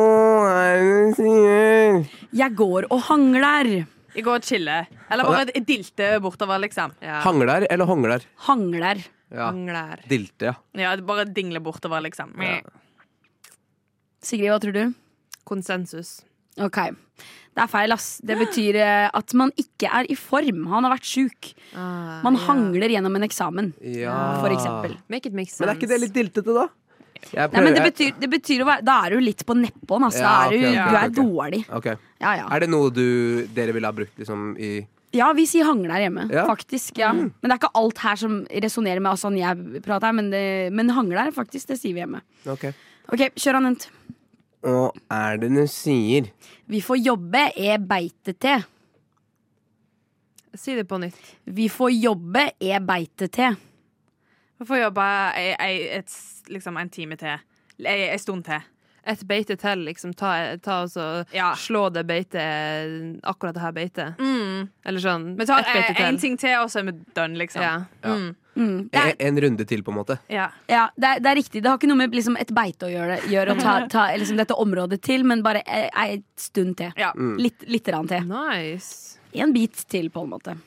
Speaker 3: hva er det du sier?
Speaker 5: Jeg går og hangler.
Speaker 4: Jeg går og chiller. Eller bare dilter bortover, liksom.
Speaker 2: Ja.
Speaker 3: Hangler eller hongler?
Speaker 5: Hangler.
Speaker 3: Ja.
Speaker 5: Mm.
Speaker 2: Hangler.
Speaker 3: Dilte, ja.
Speaker 4: Ja, bare dingler bortover, liksom.
Speaker 3: Ja.
Speaker 5: Sigrid, hva tror du?
Speaker 2: Konsensus.
Speaker 5: Ok. Det er feil, ass. Det betyr eh, at man ikke er i form. Han har vært sjuk.
Speaker 2: Ah,
Speaker 5: Man
Speaker 2: ja. Ah.
Speaker 5: hangler gjennom en eksamen,
Speaker 3: ja.
Speaker 5: for eksempel.
Speaker 2: Make it make sense.
Speaker 3: Men er ikke det litt diltete, da? Jeg
Speaker 5: Nei, men det
Speaker 3: prøver-
Speaker 5: betyr, det betyr å være Da er du litt på nedpå'n, altså. Da er
Speaker 3: Ja,
Speaker 5: du,
Speaker 3: ok, ok,
Speaker 5: du er
Speaker 3: ok.
Speaker 5: dårlig.
Speaker 3: Ok.
Speaker 5: Ja, ja.
Speaker 3: Er det noe du, dere ville ha brukt liksom, i
Speaker 5: ja, vi sier hangler hjemme,
Speaker 3: Ja. Mm.
Speaker 5: faktisk. Ja. Men det er ikke alt her som resonnerer med sånn jeg prater, men, det, men hangler, faktisk, det sier vi hjemme.
Speaker 3: Ok.
Speaker 5: Ok, kjør Anent.
Speaker 3: Hva er det du sier?
Speaker 5: Vi får jobbe e beitete.
Speaker 2: Si det på nytt.
Speaker 5: Vi får jobbe e beitete.
Speaker 4: Vi får jobbe ei, ei, et, s- liksom en time til. Ei, ei stund til.
Speaker 2: Et beite til, liksom. Ta, ta og så
Speaker 4: Ja.
Speaker 2: slå det beite Akkurat det her beitet.
Speaker 4: Mm.
Speaker 2: Eller sånn.
Speaker 4: Vi tar
Speaker 2: et beite
Speaker 4: ei- eh, en ting til, og så er vi done, liksom.
Speaker 2: Ja.
Speaker 5: Mm. Det, er,
Speaker 3: En, en runde til, på en måte.
Speaker 4: Ja.
Speaker 5: ja, det, er, det er riktig. Det har ikke noe med liksom, et beite å gjøre, gjøre å ta, ta liksom, dette området til, men bare ei, ei stund til.
Speaker 4: Ja.
Speaker 5: Litt, litt rann til.
Speaker 2: Nice.
Speaker 5: En bit til, på en måte.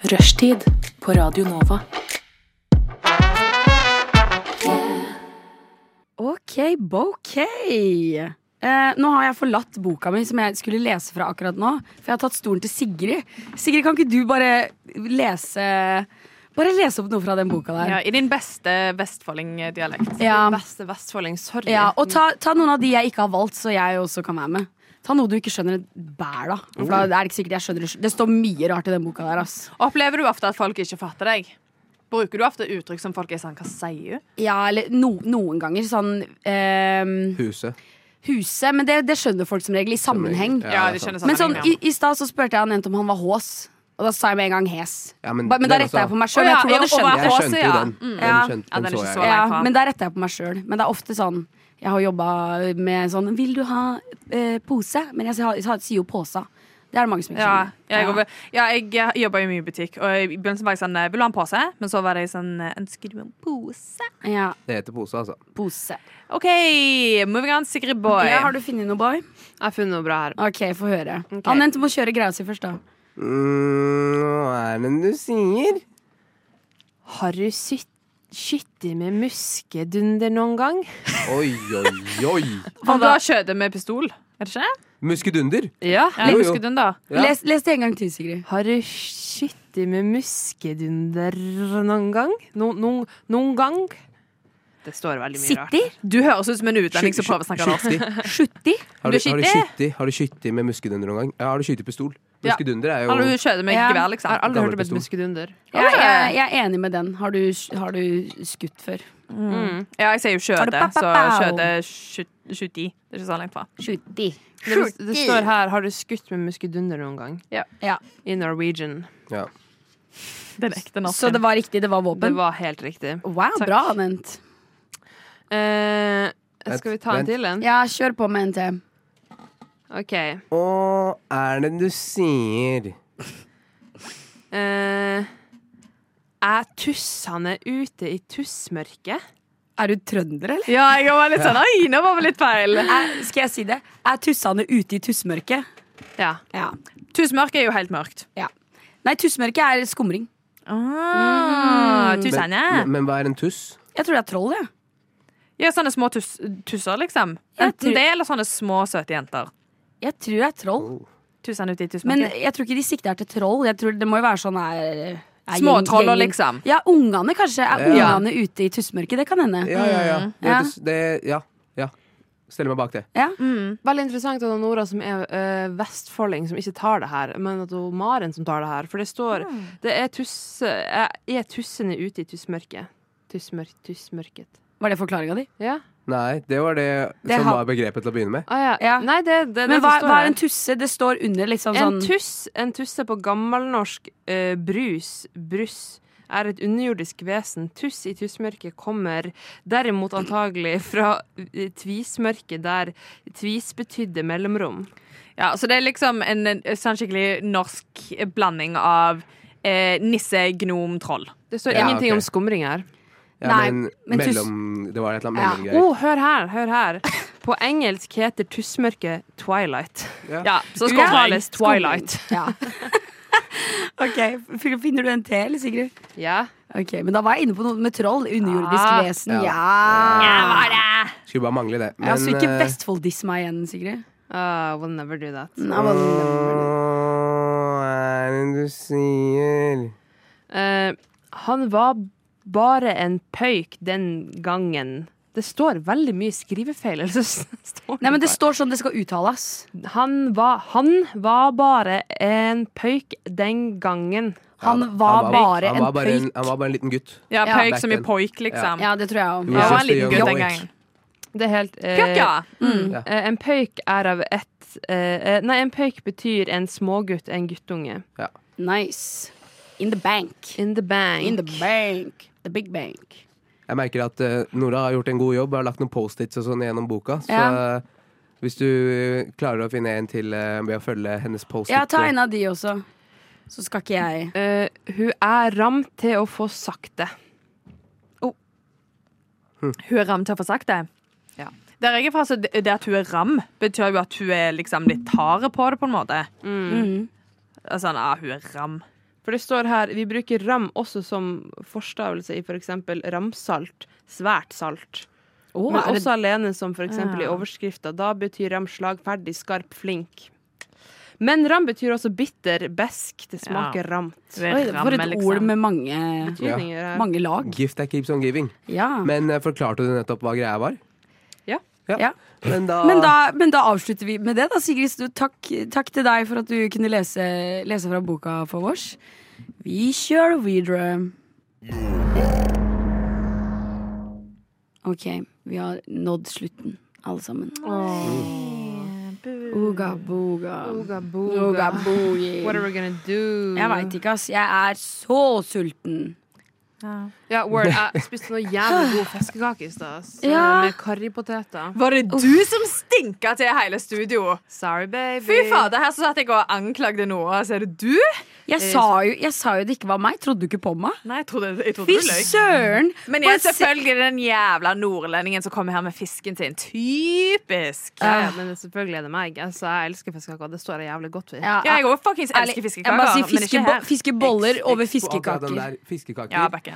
Speaker 1: Rushtid på Radio Nova.
Speaker 5: OK, bokeh. Eh, nå har jeg forlatt boka mi som jeg skulle lese fra akkurat nå. For jeg har tatt stolen til Sigrid. Sigrid, kan ikke du bare lese Bare lese opp noe fra den boka der?
Speaker 4: ja. I din beste vestfoldingdialekt.
Speaker 5: Ja.
Speaker 2: Beste vestfolding. Sorry.
Speaker 5: Ja, og ta, ta noen av de jeg ikke har valgt, så jeg også kan være med. Ta noe du ikke skjønner et bær, da. For da er det ikke sikkert jeg skjønner det. Det står mye rart i den boka der, ass.
Speaker 4: Opplever du ofte at folk ikke fatter deg? Bruker du ofte uttrykk som folk er sånn Hva sier du?
Speaker 5: Ja, eller no, noen ganger sånn ehm,
Speaker 3: Huset.
Speaker 5: Huset, men det, det skjønner folk som regel i sammenheng.
Speaker 3: Ja,
Speaker 4: Ja,
Speaker 3: det er sant.
Speaker 4: de skjønner
Speaker 5: Men sånn,
Speaker 4: sammenhengen,
Speaker 5: i, i stad så spurte jeg han jente om han var hås, og da sa jeg med en gang hes.
Speaker 3: Ja, men
Speaker 5: Ba- men da
Speaker 3: den
Speaker 5: retta jeg
Speaker 3: også.
Speaker 5: på meg sjøl.
Speaker 4: Å, ja,
Speaker 5: jeg tror du hadde
Speaker 4: ja, og
Speaker 5: skjønt
Speaker 4: hva-
Speaker 5: det.
Speaker 3: Jeg skjønte jo
Speaker 4: Ja.
Speaker 3: den. Den,
Speaker 5: Ja.
Speaker 3: skjønte,
Speaker 4: Ja, den
Speaker 3: den
Speaker 4: er
Speaker 3: så
Speaker 4: ikke så
Speaker 3: jeg.
Speaker 5: Ja,
Speaker 4: langt fra.
Speaker 5: men da retta jeg på meg sjøl. Men det er ofte sånn Jeg har jobba med sånn Vil du ha eh, pose? Men jeg sier jeg sier jo posa. Det er det mange som ikke
Speaker 4: Ja,
Speaker 5: skjønner.
Speaker 4: jeg, jobber- ja, jeg jobba jo mye i butikk, og i begynnelsen var jeg sånn Vil du ha en pose? Men så var det sånn Ønsker du en pose?
Speaker 5: ja,
Speaker 3: Det heter pose, altså.
Speaker 5: pose.
Speaker 4: OK, moving on, Sigrid Boy.
Speaker 5: Ja, har du funnet noe, boy?
Speaker 2: Jeg har funnet noe bra her.
Speaker 5: Ok, få høre. Han endte med å kjøre greia si først, da.
Speaker 3: Mm, hva er det du sier?
Speaker 2: Har du skyttet med muskedunder noen gang?
Speaker 3: Oi, oi, oi.
Speaker 4: Om du har skjøtet med pistol? Er det ikke det?
Speaker 3: Muskedunder.
Speaker 2: Ja.
Speaker 4: Ja,
Speaker 3: Jo, jo.
Speaker 4: husker du den, da?
Speaker 3: Ja.
Speaker 5: Les, les det en gang til, Sigrid.
Speaker 2: Har du skyttet med muskedunder noen gang? No, no, noen gang? Det står veldig mye rart.
Speaker 5: Sitti?
Speaker 4: Du høres ut som en utlending som
Speaker 3: Sky-
Speaker 4: prøver å snakke norsk.
Speaker 3: skytti.
Speaker 5: Sjutti?
Speaker 3: Har du, har du
Speaker 4: Beskytte.
Speaker 3: skytti- har du skytti med muskedunder noen gang? Ja, har du skytti pistol?
Speaker 4: Ja.
Speaker 3: Muskedunder er jo
Speaker 4: Har du skjøtet med
Speaker 5: Ja.
Speaker 4: gevær,
Speaker 2: Jeg har
Speaker 4: liksom?
Speaker 2: aldri
Speaker 3: Gammel
Speaker 2: hørt om et
Speaker 3: pistol.
Speaker 2: muskedunder.
Speaker 5: Jeg, jeg, jeg er enig med den. Har du, har du skutt før?
Speaker 4: Ja, jeg sier jo
Speaker 5: Har du
Speaker 4: skjøte, så
Speaker 5: papapau?
Speaker 4: skjøte 70. Det er ikke så langt fra.
Speaker 5: Sjutti.
Speaker 2: Det, det står her 'Har du skutt med muskedunder noen gang?'
Speaker 5: Ja.
Speaker 2: I Norwegian.
Speaker 3: ja.
Speaker 4: Den ekte
Speaker 5: Så det var riktig, det var
Speaker 2: Det
Speaker 5: våpen?
Speaker 2: var helt riktig.
Speaker 5: Wow, bra, Anent.
Speaker 2: Eh,
Speaker 3: Vent,
Speaker 2: skal vi ta en
Speaker 3: vent.
Speaker 2: til en?
Speaker 5: Ja, kjør på med en til.
Speaker 2: OK. Eh,
Speaker 3: Hva er det du sier?
Speaker 2: er tussene ute i tussmørket?
Speaker 5: Er du trønder, eller?
Speaker 4: Ja, jeg var litt sånn Oi, nå var vi litt feil.
Speaker 5: Er, skal jeg si det? Er tussene ute i tussmørket?
Speaker 2: Ja.
Speaker 5: Ja.
Speaker 4: Tusmørket er jo helt mørkt.
Speaker 5: Nei, tussmørket er skumring.
Speaker 4: Ah,
Speaker 3: Men,
Speaker 4: Tussene.
Speaker 3: men, men hva er en tuss?
Speaker 5: Jeg tror det er troll, jeg.
Speaker 4: Ja, sånne små tus tusser, liksom.
Speaker 5: Jeg
Speaker 4: Enten
Speaker 5: tror-
Speaker 4: det eller sånne små, søte jenter.
Speaker 5: Jeg tror det er troll.
Speaker 4: Tussene ute i
Speaker 5: Men
Speaker 4: tussmørket.
Speaker 5: jeg tror ikke de sikter til troll. Jeg tror Det må jo være sånn her Nei,
Speaker 4: Små
Speaker 5: gjeng-
Speaker 4: troller,
Speaker 5: gjengen.
Speaker 4: liksom.
Speaker 5: Ja, ungene kanskje. Er
Speaker 3: Ja.
Speaker 5: ungene ute i tussmørket? Det kan hende.
Speaker 3: Ja, ja, ja.
Speaker 4: Mm.
Speaker 3: Det,
Speaker 5: Ja.
Speaker 3: det, ja, ja. Stiller meg bak det.
Speaker 2: Veldig interessant at Nora som er eh, vestfolding, som ikke tar det her, men at hun Maren som tar det her. For det står
Speaker 5: Mm.
Speaker 2: Det er tusse... Jeg er tussene ute i tussmørket. Tussmørk, tussmørket.
Speaker 5: Var det forklaringa di?
Speaker 2: Ja?
Speaker 3: Nei, det var det,
Speaker 5: Det
Speaker 3: som
Speaker 5: har-
Speaker 3: var begrepet til å begynne med.
Speaker 2: Ah, ja.
Speaker 5: Ja.
Speaker 2: Nei, det, det, det
Speaker 5: Men hva,
Speaker 2: som står
Speaker 5: hva
Speaker 2: her.
Speaker 5: er en tusse? Det står under liksom
Speaker 2: En
Speaker 5: sånn
Speaker 2: tuss, en tusse på gammelnorsk eh, brus, bruss, er et underjordisk vesen. Tuss i tussmørket kommer derimot antagelig fra eh, tvismørket, der tvis betydde mellomrom.
Speaker 4: Ja, så det er liksom en, en sånn skikkelig norsk blanding av eh, nisse, gnom, troll.
Speaker 2: Det står
Speaker 3: Ja,
Speaker 2: ingenting
Speaker 3: ok.
Speaker 2: om skumring her.
Speaker 3: Ja,
Speaker 5: Nei,
Speaker 3: men,
Speaker 5: men tus-
Speaker 3: mellom, det var et eller
Speaker 5: Ja.
Speaker 3: annet
Speaker 2: Å,
Speaker 3: mellomgreier.
Speaker 2: hør her, hør her. På engelsk heter tussmørket twilight.
Speaker 4: Ja, så
Speaker 2: Skumring.
Speaker 4: skal
Speaker 2: Uttales twilight.
Speaker 5: Ja. *laughs* ok, f- Finner du en til, eller, Sigrid?
Speaker 2: Ja.
Speaker 5: Ok, Men da var jeg inne på noe med troll. Underjordisk
Speaker 2: Ja.
Speaker 5: vesen.
Speaker 3: Ja.
Speaker 5: Ja.
Speaker 3: Skulle bare mangle det.
Speaker 5: Ja, så ikke
Speaker 3: eh,
Speaker 5: Vestfold-diss meg igjen, Sigrid.
Speaker 2: Ah, we'll never do that.
Speaker 5: Nei, men-
Speaker 3: Åh, hva er det du sier?
Speaker 2: Eh, han var bare en pøyk den gangen. Det står veldig mye skrivefeil. *laughs* eller så står
Speaker 5: Nei, men Det
Speaker 2: bare-
Speaker 5: står sånn det skal uttales.
Speaker 2: han, var, han var bare en pøyk den gangen.
Speaker 5: Han
Speaker 3: da.
Speaker 5: var
Speaker 3: han
Speaker 5: bare en
Speaker 3: var bare
Speaker 5: pøyk.
Speaker 3: han var bare en liten gutt.
Speaker 4: Ja,
Speaker 5: Ja.
Speaker 4: pøyk
Speaker 3: Back
Speaker 4: som i
Speaker 3: then.
Speaker 4: poik, liksom. Ja.
Speaker 5: Ja, det tror jeg òg.
Speaker 3: You
Speaker 4: Jeg
Speaker 3: were
Speaker 4: var en
Speaker 3: just a
Speaker 4: liten
Speaker 3: young
Speaker 4: gutt den
Speaker 3: boy.
Speaker 4: gangen.
Speaker 2: Det er helt eh,
Speaker 4: Pjokka!
Speaker 3: Ja.
Speaker 2: eh, En pøyk er av ett eh, eh, Nei, en pøyk betyr en smågutt, en guttunge.
Speaker 5: Nice. In the bank.
Speaker 2: In the bank.
Speaker 5: In the bank. The big bank.
Speaker 3: Jeg merker at eh, Nora har gjort en god jobb og har lagt noen Post-Its og sånn gjennom boka. Så
Speaker 5: Ja.
Speaker 3: eh, hvis du klarer å finne en til eh, ved å følge hennes Post-It
Speaker 5: Ja, ta en av de også. Så skal ikke jeg
Speaker 2: Eh, hun er ram til å få sakte.
Speaker 4: Hun er ram til å få sagt det.
Speaker 2: Ja.
Speaker 4: Der jeg er fra, så det det at hun er ram, betyr jo at hun er liksom litt hard på det, på en måte.
Speaker 5: Mm.
Speaker 4: Altså, ja, hun er ram.
Speaker 2: For det står her Vi bruker ram også som forstavelse i f.eks. ramsalt. Svært salt.
Speaker 5: Å,
Speaker 2: Men
Speaker 5: er det-
Speaker 2: også alene, som for eksempel i
Speaker 4: Ja.
Speaker 2: overskrifta. Da betyr ram slagferdig, skarp, flink. Men ram betyr også bitter, besk. Det smaker ramt.
Speaker 4: Hun er liksom.
Speaker 5: Oi,
Speaker 4: ramme,
Speaker 5: For et ord med mange,
Speaker 2: Betydninger her.
Speaker 5: mange lag.
Speaker 3: eh, Gift that keeps on giving.
Speaker 5: Ja.
Speaker 3: Men eh, forklarte du nettopp hva greia var?
Speaker 2: Ja.
Speaker 5: Ja.
Speaker 3: Men da,
Speaker 5: Men da, men da avslutter vi med det, da, Sigrid. Så Takk, takk til deg for at du kunne lese, lese fra boka for oss. Vi kjører videre. OK, vi har nådd slutten, alle sammen. Oga boga.
Speaker 2: Boga,
Speaker 5: Oga
Speaker 2: boga. What are
Speaker 5: boogie.
Speaker 2: we gonna do?
Speaker 5: Jeg veit ikke, ass. Jeg er så sulten.
Speaker 2: Ja, word. Jeg spiste noe jævlig god fiskekake i stad. ass.
Speaker 5: Ja.
Speaker 2: Med karripoteter.
Speaker 4: Var det du som stinka til hele studio?
Speaker 2: Sorry, baby.
Speaker 4: Fy fader, her så satt jeg og anklagde Nora, så er det du?
Speaker 5: Jeg
Speaker 4: Eh,
Speaker 5: sa jo, jeg sa jo det ikke var meg. Trodde du ikke på meg?
Speaker 4: Nei, jeg trodde, jeg trodde
Speaker 5: Fy
Speaker 4: du løy.
Speaker 5: søren!
Speaker 4: Men
Speaker 5: Bare
Speaker 4: jeg er
Speaker 5: se-
Speaker 4: selvfølgelig den jævla nordlendingen som kommer her med fisken sin. Typisk!
Speaker 2: Ja, ja, men selvfølgelig er det meg. Altså, jeg elsker fiskekaker. og Det står jeg jævlig godt ved.
Speaker 5: Ja,
Speaker 4: Ja, jeg òg fuckings
Speaker 5: Ærlig, jeg må
Speaker 4: elsker fiskekaker,
Speaker 5: bare si
Speaker 4: men ikke
Speaker 5: fiskebo-
Speaker 4: her.
Speaker 5: Fiskeboller
Speaker 3: X-
Speaker 5: over
Speaker 3: X på akkurat den
Speaker 5: fiskekaker.
Speaker 3: der. Fiskekaker.
Speaker 4: Ja, Bekke.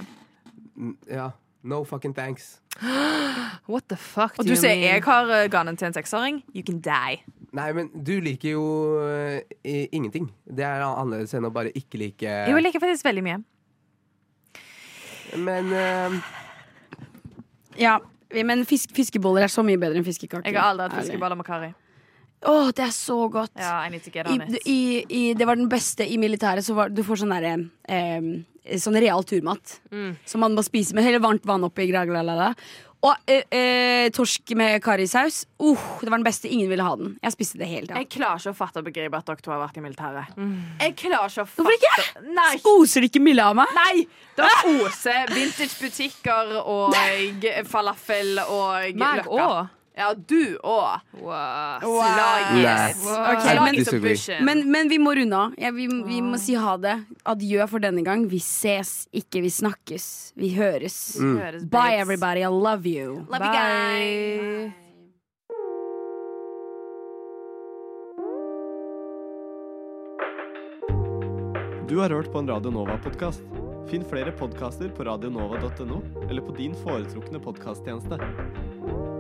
Speaker 3: Mm, ja. No fucking thanks.
Speaker 2: What the fuck do
Speaker 4: Og du
Speaker 2: you
Speaker 4: sier
Speaker 2: mean?
Speaker 4: jeg har eh, ganen til en seksåring. You can die.
Speaker 3: Nei, men du liker jo eh, i- ingenting. Det er annerledes enn å bare ikke like
Speaker 4: Jo, jeg liker faktisk veldig mye.
Speaker 3: Men eh,
Speaker 5: Ja, men fisk, fiskeboller er så mye bedre enn fiskekaker.
Speaker 4: Jeg har aldri hatt
Speaker 5: Ærlig.
Speaker 4: fiskeboller med karri.
Speaker 5: Å, det er så godt!
Speaker 4: Ja, I need to get
Speaker 5: I,
Speaker 4: on it.
Speaker 5: i, i, det var den beste i militæret. Så var, du får sånn derre eh, Sånn real turmat. Som man må spise med hele varmt vann oppi. gra, gra, la, la. Og eh, eh, torsk med karrisaus. Uh, det var den beste. Ingen ville ha den. Jeg spiste det hele tida.
Speaker 4: Jeg klarer ikke å fatte og begripe at dere to har vært i militæret. Jeg klarer ikke å fatte
Speaker 5: Hvorfor
Speaker 4: Nei!
Speaker 5: Oser ikke Mille av meg?
Speaker 4: Nei! Det oser vintagebutikker og g- falafel og
Speaker 2: Meg
Speaker 4: løkka.
Speaker 2: òg.
Speaker 4: Ja, du òg.
Speaker 2: Wow.
Speaker 4: Slages.
Speaker 3: Nei.
Speaker 5: Ok, men-
Speaker 4: Slages og
Speaker 3: Disagree.
Speaker 4: bushen.
Speaker 5: Men, men vi må runde av. Ja, vi, vi
Speaker 4: Ah.
Speaker 5: må si ha det. Adjø for denne gang. Vi ses ikke, vi snakkes. Vi høres.
Speaker 4: Høres
Speaker 5: Bye,
Speaker 4: babes.
Speaker 5: everybody. I love you.
Speaker 4: Mm. Love you guys.
Speaker 9: Du har hørt på en Radio Nova-podkast. Finn flere podkaster på radionova.no eller på din foretrukne podkasttjeneste.